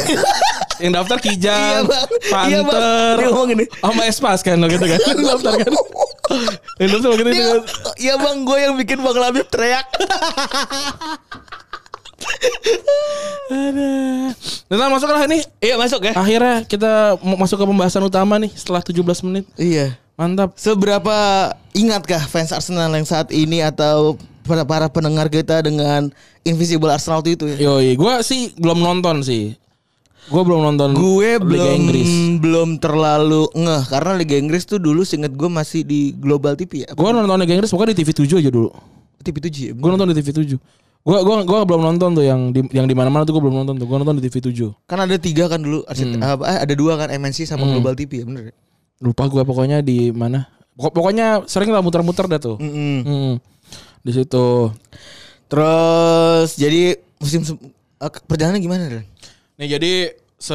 Speaker 2: Yang daftar Kijang,
Speaker 3: [laughs] Iya, Bang. Iya, Bang.
Speaker 2: Panter,
Speaker 3: Dia ngomong gini.
Speaker 2: sama Espas kan, gitu
Speaker 3: [laughs]
Speaker 2: kan? Yang daftar kan? Yang daftar gitu
Speaker 3: Dia,
Speaker 2: kan?
Speaker 3: Iya bang, gue yang bikin Bang Labib teriak.
Speaker 2: Ada. Nah, masuklah nih.
Speaker 3: iya masuk ya.
Speaker 2: Akhirnya kita mau masuk ke pembahasan utama nih setelah 17 menit.
Speaker 3: Iya.
Speaker 2: Mantap.
Speaker 3: Seberapa ingatkah fans Arsenal yang saat ini atau para para pendengar kita dengan Invisible Arsenal itu ya?
Speaker 2: Yoi, gua sih belum nonton sih. Gua belum nonton Liga
Speaker 3: Gue belum
Speaker 2: Inggris.
Speaker 3: belum terlalu ngeh karena Liga Inggris tuh dulu seinget gue masih di Global TV ya.
Speaker 2: Gua nonton Liga Inggris pokoknya di TV 7 aja dulu.
Speaker 3: TV 7 ya.
Speaker 2: Gua nonton di TV 7. Gua gua gua belum nonton tuh yang di yang di mana-mana tuh gua belum nonton tuh. Gua nonton di TV 7.
Speaker 3: Kan ada tiga kan dulu RCT- apa, eh, ada dua kan MNC sama Global TV ya bener ya?
Speaker 2: Lupa gua pokoknya di mana. Pokok- Pokoknya sering lah muter-muter dah tuh. Hmm. Di situ.
Speaker 3: Terus jadi musim se- eh, perjalanan gimana Ren?
Speaker 2: Nih jadi se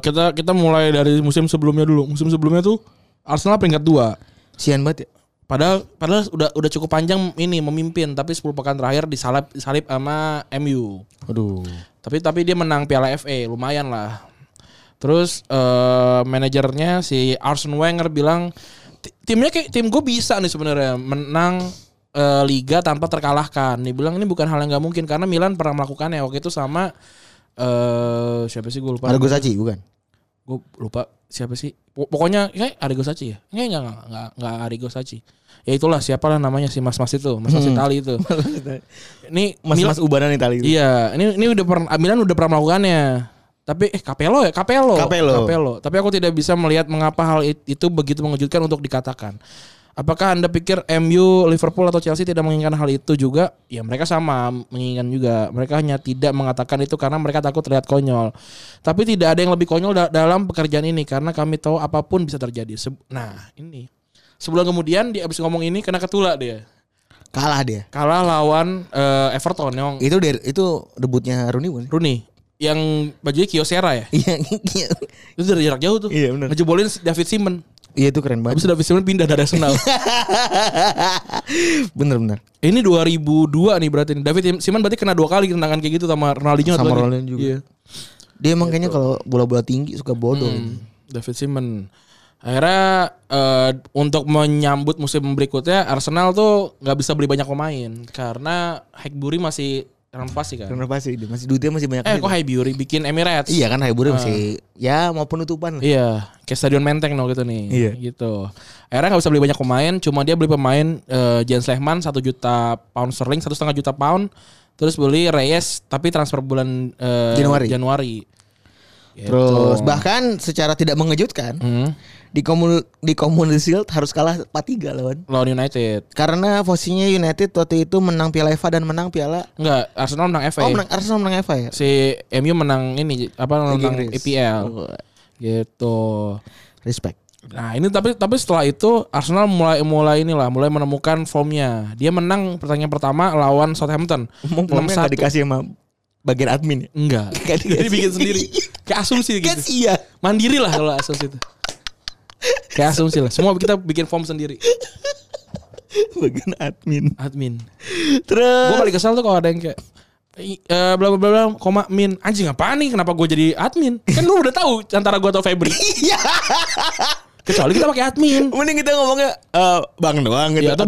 Speaker 2: kita kita mulai dari musim sebelumnya dulu. Musim sebelumnya tuh Arsenal peringkat 2.
Speaker 3: Sian banget ya.
Speaker 2: Padahal padahal udah udah cukup panjang ini memimpin tapi 10 pekan terakhir disalip salib sama MU.
Speaker 3: Aduh.
Speaker 2: Tapi tapi dia menang Piala FA, lumayan lah. Terus eh manajernya si Arsene Wenger bilang "Ti- timnya kayak tim gue bisa nih sebenarnya menang eh, liga tanpa terkalahkan. Dia bilang ini bukan hal yang nggak mungkin karena Milan pernah melakukannya waktu itu sama eh siapa sih gue lupa.
Speaker 3: Margo Sachi bukan?
Speaker 2: Gue lupa siapa sih? Po- Pokoknya kayak Arrigo Sacchi ya. Enggak enggak enggak enggak, enggak Arrigo Sacchi. Ya itulah siapalah namanya si Mas-mas itu, Mas-mas Itali itu. Ini
Speaker 3: Mas-mas ubanan Itali. itu.
Speaker 2: Iya, ini ini udah pernah Milan udah pernah melakukannya. Tapi eh Capello ya, Capello.
Speaker 3: Capello.
Speaker 2: Tapi aku tidak bisa melihat mengapa hal it- itu begitu mengejutkan untuk dikatakan. Apakah Anda pikir MU, Liverpool atau Chelsea tidak menginginkan hal itu juga? Ya mereka sama menginginkan juga. Mereka hanya tidak mengatakan itu karena mereka takut terlihat konyol. Tapi tidak ada yang lebih konyol da- dalam pekerjaan ini karena kami tahu apapun bisa terjadi. Se- nah, ini. Sebulan kemudian dia habis ngomong ini kena ketulak dia.
Speaker 3: Kalah dia.
Speaker 2: Kalah lawan eh, Everton yang
Speaker 3: Itu der, itu debutnya Rooney bukan? sih?
Speaker 2: Rooney yang bajunya Kyocera ya
Speaker 3: [laughs] Iya, iya.
Speaker 2: itu dari jarak jauh tuh
Speaker 3: Iya, bener.
Speaker 2: ngejebolin David Simon
Speaker 3: Iya itu keren
Speaker 2: habis
Speaker 3: banget.
Speaker 2: itu David Simon pindah dari
Speaker 3: [laughs]
Speaker 2: Arsenal
Speaker 3: Iya. bener bener.
Speaker 2: ini 2002 nih berarti nih. David Simon berarti kena dua kali tendangan kayak gitu sama Ronaldinho
Speaker 3: Sama
Speaker 2: atau lagi.
Speaker 3: Ronaldinho juga.
Speaker 2: Iya.
Speaker 3: Dia emang kayaknya kalau bola-bola tinggi suka bodoh.
Speaker 2: Hmm, David Simon akhirnya eh, untuk menyambut musim berikutnya Arsenal tuh nggak bisa beli banyak pemain karena Hackbury masih rampas sih kan
Speaker 3: Kenapa Kenapa sih? Dia Masih duitnya masih banyak.
Speaker 2: eh
Speaker 3: juga.
Speaker 2: kok Highbury bikin Emirates
Speaker 3: Iya kan Highbury masih ya mau penutupan lah.
Speaker 2: Iya, kayak stadion Menteng no gitu nih.
Speaker 3: Iya.
Speaker 2: Gitu. Akhirnya nggak bisa beli banyak pemain, cuma dia beli pemain eh, Jens Lehmann 1 juta pound sterling, satu setengah juta pound, terus beli Reyes tapi transfer bulan eh,
Speaker 3: Januari.
Speaker 2: Januari. Gitu.
Speaker 3: Terus bahkan secara tidak mengejutkan
Speaker 2: Hmm,
Speaker 3: di komun di Community Shield harus kalah 4-3 lawan.
Speaker 2: lawan United.
Speaker 3: Karena posisinya United waktu itu menang Piala FA dan menang Piala
Speaker 2: Enggak, Arsenal menang FA.
Speaker 3: Oh, menang Arsenal menang FA ya.
Speaker 2: Si MU menang ini apa
Speaker 3: Liga
Speaker 2: menang
Speaker 3: Inggris. Oh.
Speaker 2: EPL.
Speaker 3: Wah,
Speaker 2: Gitu.
Speaker 3: Respect.
Speaker 2: Nah ini tapi tapi setelah itu Arsenal mulai mulai inilah mulai menemukan formnya. Dia menang pertandingan pertama lawan Southampton.
Speaker 3: Mau
Speaker 2: 6-1.
Speaker 3: dikasih sama bagian admin ya. [laughs]
Speaker 2: Enggak.
Speaker 3: Nggak dikasih.
Speaker 2: Jadi bikin sendiri. Kayak asumsi
Speaker 3: Kan
Speaker 2: gitu.
Speaker 3: iya.
Speaker 2: Mandiri lah kalau asumsi itu. Kayak asumsi lah. Semua kita bikin form sendiri.
Speaker 3: [laughs] Bagian admin.
Speaker 2: Admin. Gue
Speaker 3: Terus
Speaker 2: paling kesel tuh kalau ada yang kayak "I- eh, bla bla bla bla, koma min anjing apaan nih kenapa gue jadi admin kan lu udah tahu antara gue atau Febri
Speaker 3: iya.
Speaker 2: kecuali kita pakai admin
Speaker 3: Mending kita ngomongnya eh, bang doang gitu
Speaker 2: Iya, atau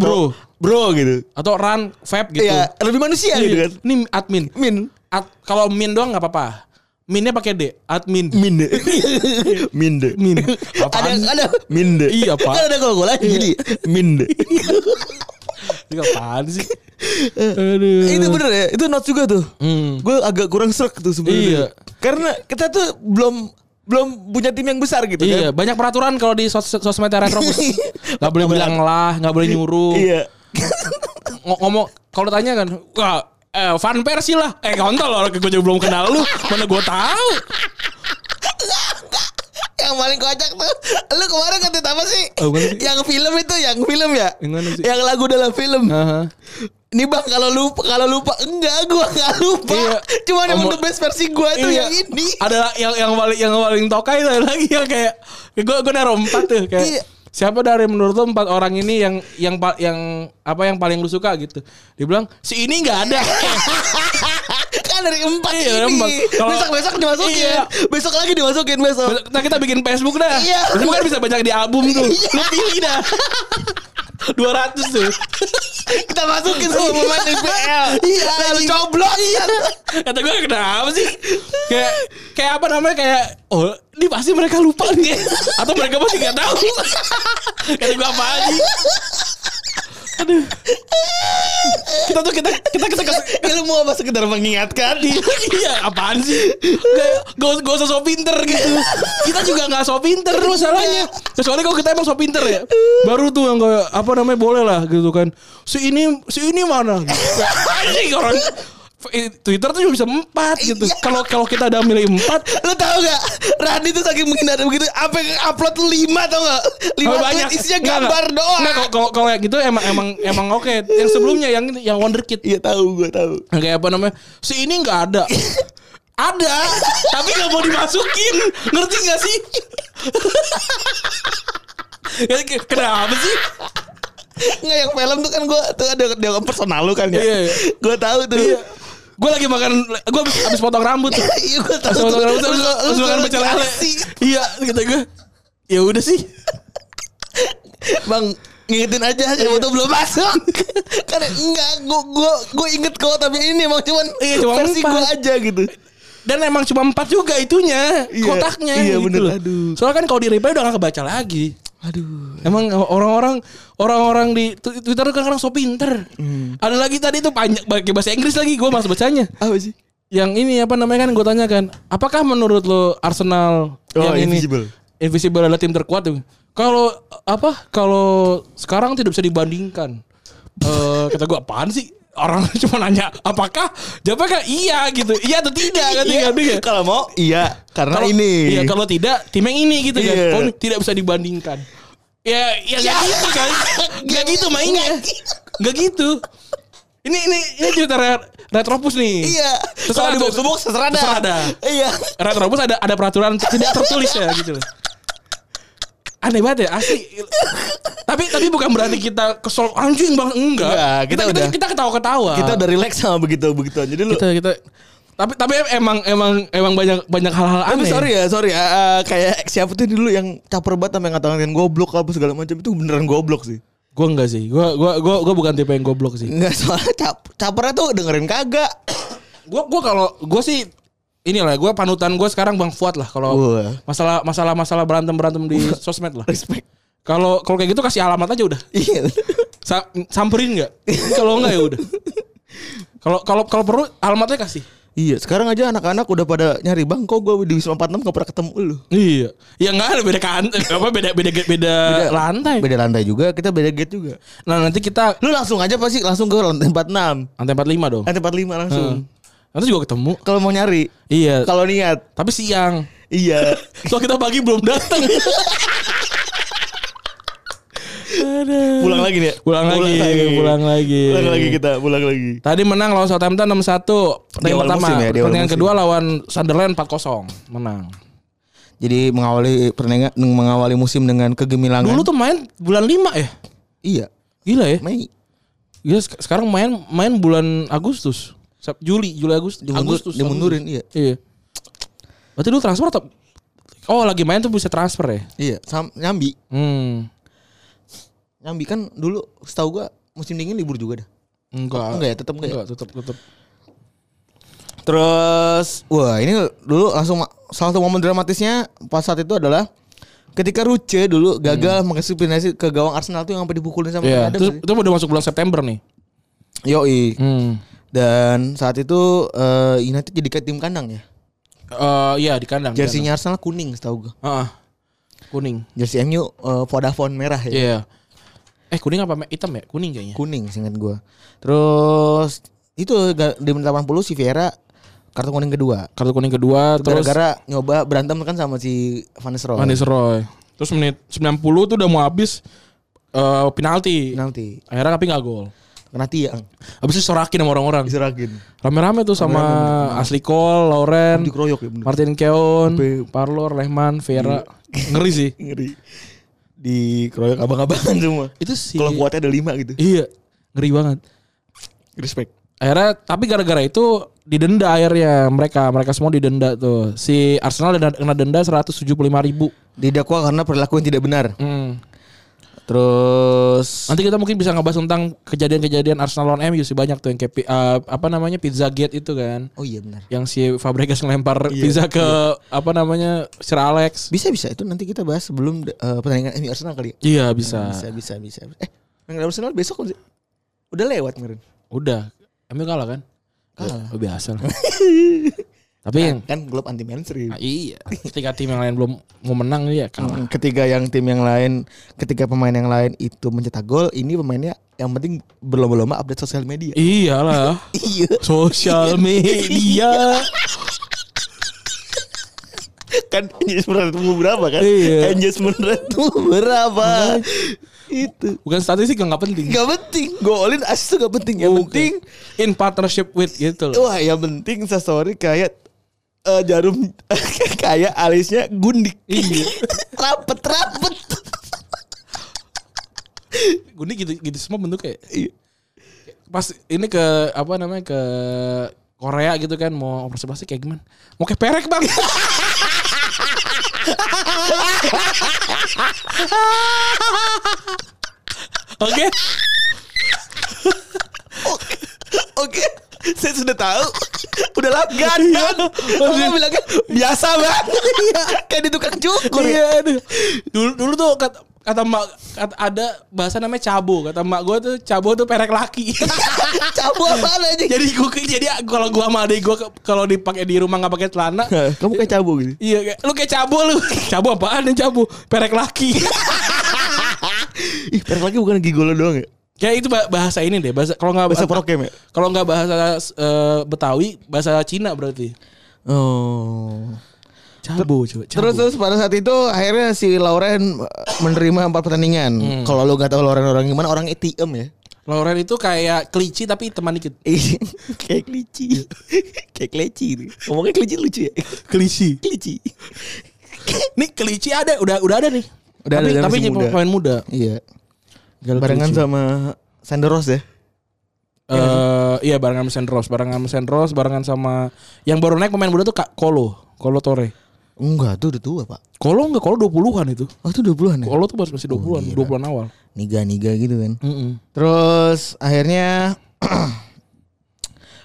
Speaker 3: Bro gitu.
Speaker 2: atau run Feb gitu
Speaker 3: Iya, lebih manusia gitu kan.
Speaker 2: ini admin
Speaker 3: Min.
Speaker 2: Ad- kalau min doang nggak apa-apa minnya pakai d admin
Speaker 3: [laughs] Minde. Minde.
Speaker 2: min
Speaker 3: [laughs] Ada
Speaker 2: apaan
Speaker 3: Iya. ada [laughs] Minde.
Speaker 2: Iya, Pak.
Speaker 3: Kan ada kalau gue lagi jadi [laughs] Minde.
Speaker 2: Ini apaan
Speaker 3: [laughs]
Speaker 2: sih aduh
Speaker 3: itu bener ya, itu not juga tuh.
Speaker 2: Hmm.
Speaker 3: Gue agak kurang serak
Speaker 2: Iya.
Speaker 3: tuh sebenarnya. Karena kita tuh belum belum punya tim yang besar gitu kan.
Speaker 2: Iya, banyak peraturan kalau di sos sosmed [laughs] Retrobus. gak boleh bilang lah, gak boleh nyuruh.
Speaker 3: Iya.
Speaker 2: Ngo- ngomong kalau tanya kan, wah, eh, fan persi lah. Eh, kontol orang gue juga belum kenal lu. Mana gue tahu?
Speaker 3: [laughs] yang paling kocak tuh lu kemarin kata apa sih?
Speaker 2: Oh, bukan sih.
Speaker 3: yang film itu, yang film ya?
Speaker 2: Yang mana sih?
Speaker 3: Yang lagu dalam film.
Speaker 2: Aha.
Speaker 3: Nih bang kalau lupa kalau lupa enggak gua enggak lupa.
Speaker 2: Iya.
Speaker 3: Cuman yang
Speaker 2: Omong-
Speaker 3: untuk best versi gua itu
Speaker 2: Iya.
Speaker 3: yang ini. [laughs]
Speaker 2: Ada yang yang paling yang paling tokai ada lagi yang kayak gue gue naruh empat tuh kayak
Speaker 3: Iya.
Speaker 2: siapa dari menurut lo empat orang ini yang yang pa- yang apa yang paling lu suka gitu? Dibilang si ini nggak [laughs] ada.
Speaker 3: kan dari empat
Speaker 2: Iya,
Speaker 3: ini.
Speaker 2: empat. Kalau-
Speaker 3: besok besok dimasukin.
Speaker 2: Iya.
Speaker 3: Besok lagi dimasukin besok.
Speaker 2: Nah kita bikin Facebook dah.
Speaker 3: Iya.
Speaker 2: Besok kan bisa banyak di album tuh. [laughs] Lu pilih dah. 200 tuh.
Speaker 3: Kita masukin semua pemain IPL. Iya.
Speaker 2: Lalu
Speaker 3: Lalu coblok. Iya.
Speaker 2: Kata gue kenapa sih? Kayak kayak apa namanya kayak oh ini pasti mereka lupa nih atau mereka pasti nggak tahu. Kata gue apa sih? Aduh. Kita tuh kita kita kita kes-
Speaker 3: Ilmu apa sekedar mengingatkan.
Speaker 2: iya apaan sih Kayak gak, usah- gak usah so pinter gitu kita juga gak so pinter masalahnya kecuali kalau kita emang so pinter ya baru tuh yang kayak apa namanya boleh lah gitu kan si ini si ini mana Gitu.
Speaker 3: Iya.
Speaker 2: anjing orang Twitter tuh cuma bisa empat gitu kalau kalau kita ada milih empat
Speaker 3: Lu tau gak Rani tuh saking menghindari begitu Apa yang upload tuh lima tau gak Lima
Speaker 2: Kalau
Speaker 3: banyak Iya, isinya gambar
Speaker 2: Nggak,
Speaker 3: doang
Speaker 2: nggak, kalau- kalau kalau yang gitu emang emang emang oke yang sebelumnya yang yang wonder kid
Speaker 3: Iya tahu gue tahu.
Speaker 2: Yang kayak apa namanya si ini nggak ada
Speaker 3: [laughs]
Speaker 2: ada tapi nggak mau dimasukin ngerti nggak sih Ya, ke- kenapa sih
Speaker 3: Nggak yang film tuh kan gue tuh ada ada personal lu kan ya.
Speaker 2: Iya, iya.
Speaker 3: Gue tahu tuh. Iya.
Speaker 2: gue lagi makan gue habis, habis potong rambut tuh
Speaker 3: Iya gue tahu.
Speaker 2: habis
Speaker 3: tuh.
Speaker 2: potong rambut
Speaker 3: Lu-
Speaker 2: habis,
Speaker 3: lu-
Speaker 2: habis
Speaker 3: lu
Speaker 2: makan pecel lele
Speaker 3: ngasih.
Speaker 2: iya kata gue ya udah sih
Speaker 3: Bang ngingetin aja
Speaker 2: Iya.
Speaker 3: siapa tuh belum masuk. [laughs] Karena enggak gue gue gue inget kok tapi ini emang cuman
Speaker 2: Iya, cuma
Speaker 3: versi
Speaker 2: empat.
Speaker 3: gue aja gitu.
Speaker 2: dan emang cuma empat juga itunya
Speaker 3: Iya,
Speaker 2: kotaknya
Speaker 3: iya,
Speaker 2: gitu
Speaker 3: bener.
Speaker 2: loh.
Speaker 3: Aduh.
Speaker 2: Soalnya kan kalau di replay udah gak kebaca lagi.
Speaker 3: Aduh.
Speaker 2: Emang orang-orang orang-orang di tu- Twitter kan kadang so pinter.
Speaker 3: Hmm.
Speaker 2: Ada lagi tadi tuh panjang pakai bahasa Inggris lagi gue masih bacanya.
Speaker 3: Apa sih?
Speaker 2: Yang ini apa namanya kan gue tanyakan, apakah menurut lo Arsenal
Speaker 3: Oh,
Speaker 2: yang
Speaker 3: invisible.
Speaker 2: ini invisible adalah tim terkuat? tuh? Kalau apa? Kalau sekarang tidak bisa dibandingkan. Eh kata gue apaan sih? Orang [laughs] cuma nanya apakah? Jawabnya kan iya gitu. Iya atau tidak kan
Speaker 3: [laughs] Iya,
Speaker 2: iya.
Speaker 3: kalau mau iya karena
Speaker 2: Kalau
Speaker 3: ini.
Speaker 2: Iya, kalau tidak tim yang ini gitu kan.
Speaker 3: Iya.
Speaker 2: Oh, ini tidak bisa dibandingkan. Ya, ya enggak gitu kan. Enggak gitu mainnya. Enggak gitu. Ini ini ini cerita Re- Retropus nih.
Speaker 3: iya.
Speaker 2: Terus
Speaker 3: Kalau di box to box terserada.
Speaker 2: Terserada.
Speaker 3: Iya.
Speaker 2: Retropus ada ada peraturan tidak tertulis ya gitu loh. Aneh banget ya, asli. tapi tapi bukan berarti kita kesel anjing bang enggak.
Speaker 3: Enggak, Iya, kita
Speaker 2: kita,
Speaker 3: udah-
Speaker 2: kita ketawa-ketawa.
Speaker 3: Kita udah relax sama begitu-begituan. Jadi lu
Speaker 2: kita kita tapi tapi emang emang emang banyak banyak hal-hal aneh.
Speaker 3: Tapi sorry ya, sorry ya. eh, kayak siapa tuh dulu yang caper banget sama yang ngatain goblok apa segala macam itu beneran goblok sih.
Speaker 2: Gue enggak sih. Gue gua gua gua bukan tipe yang goblok sih.
Speaker 3: Enggak soalnya cap capernya tuh dengerin kagak. [coughs]
Speaker 2: Gue gua kalau gue sih inilah gue panutan gue sekarang Bang Fuad lah kalau
Speaker 3: Wah.
Speaker 2: masalah masalah masalah berantem berantem
Speaker 3: [laughs]
Speaker 2: di sosmed lah.
Speaker 3: Respect.
Speaker 2: Kalau kalau kayak gitu kasih alamat aja udah.
Speaker 3: Iya.
Speaker 2: Sa- samperin
Speaker 3: [laughs]
Speaker 2: nggak? Kalau nggak ya udah. Kalau kalau kalau perlu alamatnya kasih.
Speaker 3: iya, sekarang aja anak-anak udah pada nyari bang kok gue di Wisma 46 gak pernah ketemu lu.
Speaker 2: Iya. Ya nggak ada beda kan [laughs] apa beda beda beda, lantai.
Speaker 3: Beda lantai juga, kita beda gate juga.
Speaker 2: Nah nanti kita
Speaker 3: Lu langsung aja pasti langsung ke lantai 46,
Speaker 2: lantai 45 dong.
Speaker 3: lantai 45 langsung.
Speaker 2: Heeh. Nanti juga ketemu.
Speaker 3: Kalau mau nyari,
Speaker 2: Iya.
Speaker 3: kalau niat.
Speaker 2: Tapi siang.
Speaker 3: Iya.
Speaker 2: [laughs] Soal kita pagi belum datang.
Speaker 3: pulang lagi nih. ya?
Speaker 2: Pulang lagi, pulang lagi.
Speaker 3: Pulang lagi kita, pulang lagi.
Speaker 2: Tadi menang lawan Southampton 6-1
Speaker 3: Di
Speaker 2: pertandingan pertama.
Speaker 3: awal musim ya, di awal
Speaker 2: pertandingan
Speaker 3: musim.
Speaker 2: kedua lawan Sunderland 4-0 menang.
Speaker 3: Jadi mengawali pertandingan mengawali musim dengan kegemilangan.
Speaker 2: Dulu tuh main bulan 5 ya.
Speaker 3: iya.
Speaker 2: Gila ya.
Speaker 3: Mei.
Speaker 2: Gila sek- sekarang main main bulan Agustus. Sep- Juli, Juli Agustus.
Speaker 3: Dimundur,
Speaker 2: Agustus.
Speaker 3: dimundurin, iya.
Speaker 2: Agustus. Iya. Berarti dulu transfer atau Oh, lagi main tuh bisa transfer ya.
Speaker 3: Iya, sam, nyambi.
Speaker 2: Hmm.
Speaker 3: Nyambi kan dulu setahu gua musim dingin libur juga dah.
Speaker 2: Enggak.
Speaker 3: Enggak ya, tetap enggak ya?
Speaker 2: Enggak, tetap tetap.
Speaker 3: Terus wah ini dulu langsung ma- salah satu momen dramatisnya pas saat itu adalah ketika Ruce dulu gagal mengeksekusi ke gawang Arsenal tuh yang sampai dipukulin sama
Speaker 2: Hmm. Iya,
Speaker 3: Adam.
Speaker 2: terus itu udah masuk bulan September nih.
Speaker 3: Yoi.
Speaker 2: Hmm.
Speaker 3: Dan saat itu eh, United jadi kayak tim kandang ya.
Speaker 2: Eh iya di kandang. di
Speaker 3: Jersinya Arsenal kuning setahu gua.
Speaker 2: kandang. Heeh. kuning.
Speaker 3: Jersey MU eh, Vodafone merah ya.
Speaker 2: Iya. Eh kuning apa me- hitam ya? Kuning kayaknya.
Speaker 3: Kuning singkat gua. Terus itu ga- di menit 80 si Vieira kartu kuning kedua.
Speaker 2: Kartu kuning kedua terus
Speaker 3: Gara-gara nyoba berantem kan sama si Van Nistelrooy.
Speaker 2: Van Nistelrooy. Terus menit 90 tuh udah mau habis eh penalti.
Speaker 3: Penalti.
Speaker 2: Akhirnya tapi nggak gol.
Speaker 3: Kena tiang.
Speaker 2: Habis itu sorakin sama orang-orang.
Speaker 3: Diserakin.
Speaker 2: Iya. Rame-rame tuh sama Asli Cole, Lauren,
Speaker 3: Dikeroyok ya bener.
Speaker 2: Martin Keon,
Speaker 3: Sampai-
Speaker 2: Parlor, Lehman, Vera. Ngeri sih.
Speaker 3: Ngeri. Dikeroyok abang-abangan [laughs] semua.
Speaker 2: [laughs] Itu Iya sih.
Speaker 3: Kalau kuatnya ada lima gitu.
Speaker 2: Iya, ngeri banget.
Speaker 3: Respect.
Speaker 2: Akhirnya tapi gara-gara itu didenda akhirnya mereka mereka semua didenda tuh si Arsenal denda- kena denda 175 ribu.
Speaker 3: Didakwa karena perilaku yang tidak benar.
Speaker 2: Hmm.
Speaker 3: Terus
Speaker 2: Nanti kita mungkin bisa ngebahas tentang kejadian-kejadian Arsenal lawan MU sih banyak tuh yang kayak pi- eh, apa namanya Pizza Gate itu kan.
Speaker 3: Oh iya benar.
Speaker 2: Yang si Fabregas ngelempar pizza ke apa namanya Sir Alex.
Speaker 3: Bisa bisa itu nanti kita bahas sebelum eh, pertandingan MU Arsenal kali ya.
Speaker 2: Iya bisa.
Speaker 3: Bisa bisa bisa. Eh, pertandingan Arsenal besok kan sih? Udah lewat kemarin.
Speaker 2: Udah. MU kalah kan?
Speaker 3: Kalah.
Speaker 2: Oh, biasa [laughs] lah. Tapi yang
Speaker 3: Kan klub anti mainstream.
Speaker 2: ah, iya, ketika tim yang lain belum mau menang dia kalah.
Speaker 3: Hmm, Ketika yang tim yang lain, ketika pemain yang lain itu mencetak gol, ini pemainnya yang penting berlomba-lomba update sosial media.
Speaker 2: [laughs] Iyalah.
Speaker 3: [laughs] Iya.
Speaker 2: [laughs] Sosial media.
Speaker 3: kan engagement rate mu berapa kan?
Speaker 2: Iya.
Speaker 3: Engagement rate mu berapa? itu.
Speaker 2: Bukan statistik yang nggak penting.
Speaker 3: Gak penting. Golin asis tuh gak penting. Yang penting
Speaker 2: in partnership with gitu loh.
Speaker 3: wah yang penting sorry kayak eh, jarum [laughs] kayak alisnya gundik. [laughs]
Speaker 2: Iya.
Speaker 3: rapet rapet.
Speaker 2: Gundi gitu gitu semua bentuknya.
Speaker 3: Iya.
Speaker 2: Pas ini ke apa namanya ke Korea gitu kan mau observasi kayak gimana? Mau kayak perek bang? [laughs] Oke,
Speaker 3: Oke. Oke. Saya sudah tahu. udah lagan kan. Gue bilangnya biasa banget. Kayak di tukang cukur. [laughs]
Speaker 2: Iya, aduh. Dulu dulu tuh kata, kata mak kata- ada bahasa namanya cabo. Kata mak gue tuh cabo tuh perek laki. [laughs]
Speaker 3: Cabul apaan aja.
Speaker 2: jadi gue jadi kalau gue sama adik gue kalau dipakai di rumah nggak pakai celana, [laughs]
Speaker 3: Kamu kayak cabul gitu.
Speaker 2: Iya, kayak, lu kayak cabo lu. [laughs] Cabo apaan yang cabo? Perek laki. [laughs]
Speaker 3: Ih, perek lagi bukan gigolo doang ya?
Speaker 2: kayak itu bah- bahasa ini deh. Bahasa kalau nggak
Speaker 3: Bahasa prokem ya?
Speaker 2: Kalau nggak bahasa eh, Betawi, bahasa Cina berarti.
Speaker 3: Oh.
Speaker 2: Cabo coba. Cabo.
Speaker 3: Terus terus pada saat itu akhirnya si Lauren menerima empat pertandingan. Kalau lu gak tahu Lauren orang gimana, orang ATM ya.
Speaker 2: Lauren itu kayak kelinci tapi teman dikit.
Speaker 3: Ih, [laughs] kayak kelinci. Iya. kayak kelinci. ini. Ngomongnya kelinci lucu ya.
Speaker 2: Kelinci.
Speaker 3: Kelinci.
Speaker 2: Nih kelinci ada, udah udah ada nih.
Speaker 3: Udah
Speaker 2: tapi
Speaker 3: ada, tapi
Speaker 2: tapi
Speaker 3: masih
Speaker 2: ini
Speaker 3: muda.
Speaker 2: pemain muda.
Speaker 3: Iya.
Speaker 2: Gak ada
Speaker 3: Barengan
Speaker 2: kelinci.
Speaker 3: sama Sanderos ya.
Speaker 2: Eh, iya barengan sama Sandros, barengan sama Sandros, barengan sama yang baru naik pemain muda tuh Kak Kolo, Kolo Torre.
Speaker 3: Enggak, tuh udah tua, Pak.
Speaker 2: Kolo enggak, Kolo 20-an itu.
Speaker 3: Oh, itu 20-an ya?
Speaker 2: Kolo tuh masih 20-an, 20-an awal.
Speaker 3: Niga-niga gitu kan. Terus akhirnya [clears throat]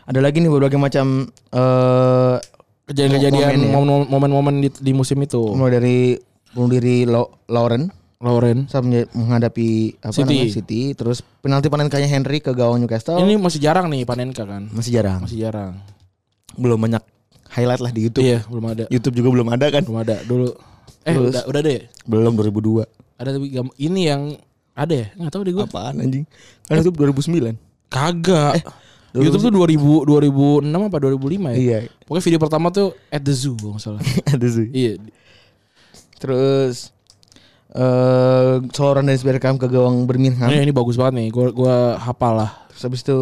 Speaker 3: ada lagi nih berbagai macam eh Momen
Speaker 2: Kejadian-kejadian
Speaker 3: ya.
Speaker 2: momen- momen-momen di, di musim itu.
Speaker 3: mulai dari bunuh diri Lo- Lauren
Speaker 2: Lauren.
Speaker 3: saat menja- menghadapi apa
Speaker 2: City.
Speaker 3: namanya City, terus penalti panenkanya Henry ke gawang Newcastle
Speaker 2: Ini masih jarang nih Panenka kan.
Speaker 3: Iya. masih jarang.
Speaker 2: Masih jarang.
Speaker 3: Belum banyak highlight lah di YouTube.
Speaker 2: Iya, belum ada.
Speaker 3: YouTube juga belum ada kan?
Speaker 2: Belum ada dulu. Eh,
Speaker 3: Terus.
Speaker 2: udah udah deh.
Speaker 3: Belum 2002.
Speaker 2: Ada tapi gam- ini yang ada ya? Enggak tahu deh gua.
Speaker 3: Apaan anjing? Kan YouTube 2009.
Speaker 2: Kagak.
Speaker 3: Eh,
Speaker 2: YouTube tuh 2000 2006 apa 2005 ya?
Speaker 3: Iya. [laughs]
Speaker 2: Pokoknya video pertama tuh at the zoo kalau nggak salah.
Speaker 3: ada sih.
Speaker 2: iya.
Speaker 3: Terus eh soloran dari Beckham ke gawang Birmingham.
Speaker 2: Ini, ini bagus banget nih. Gua gua hafal lah.
Speaker 3: Terus habis itu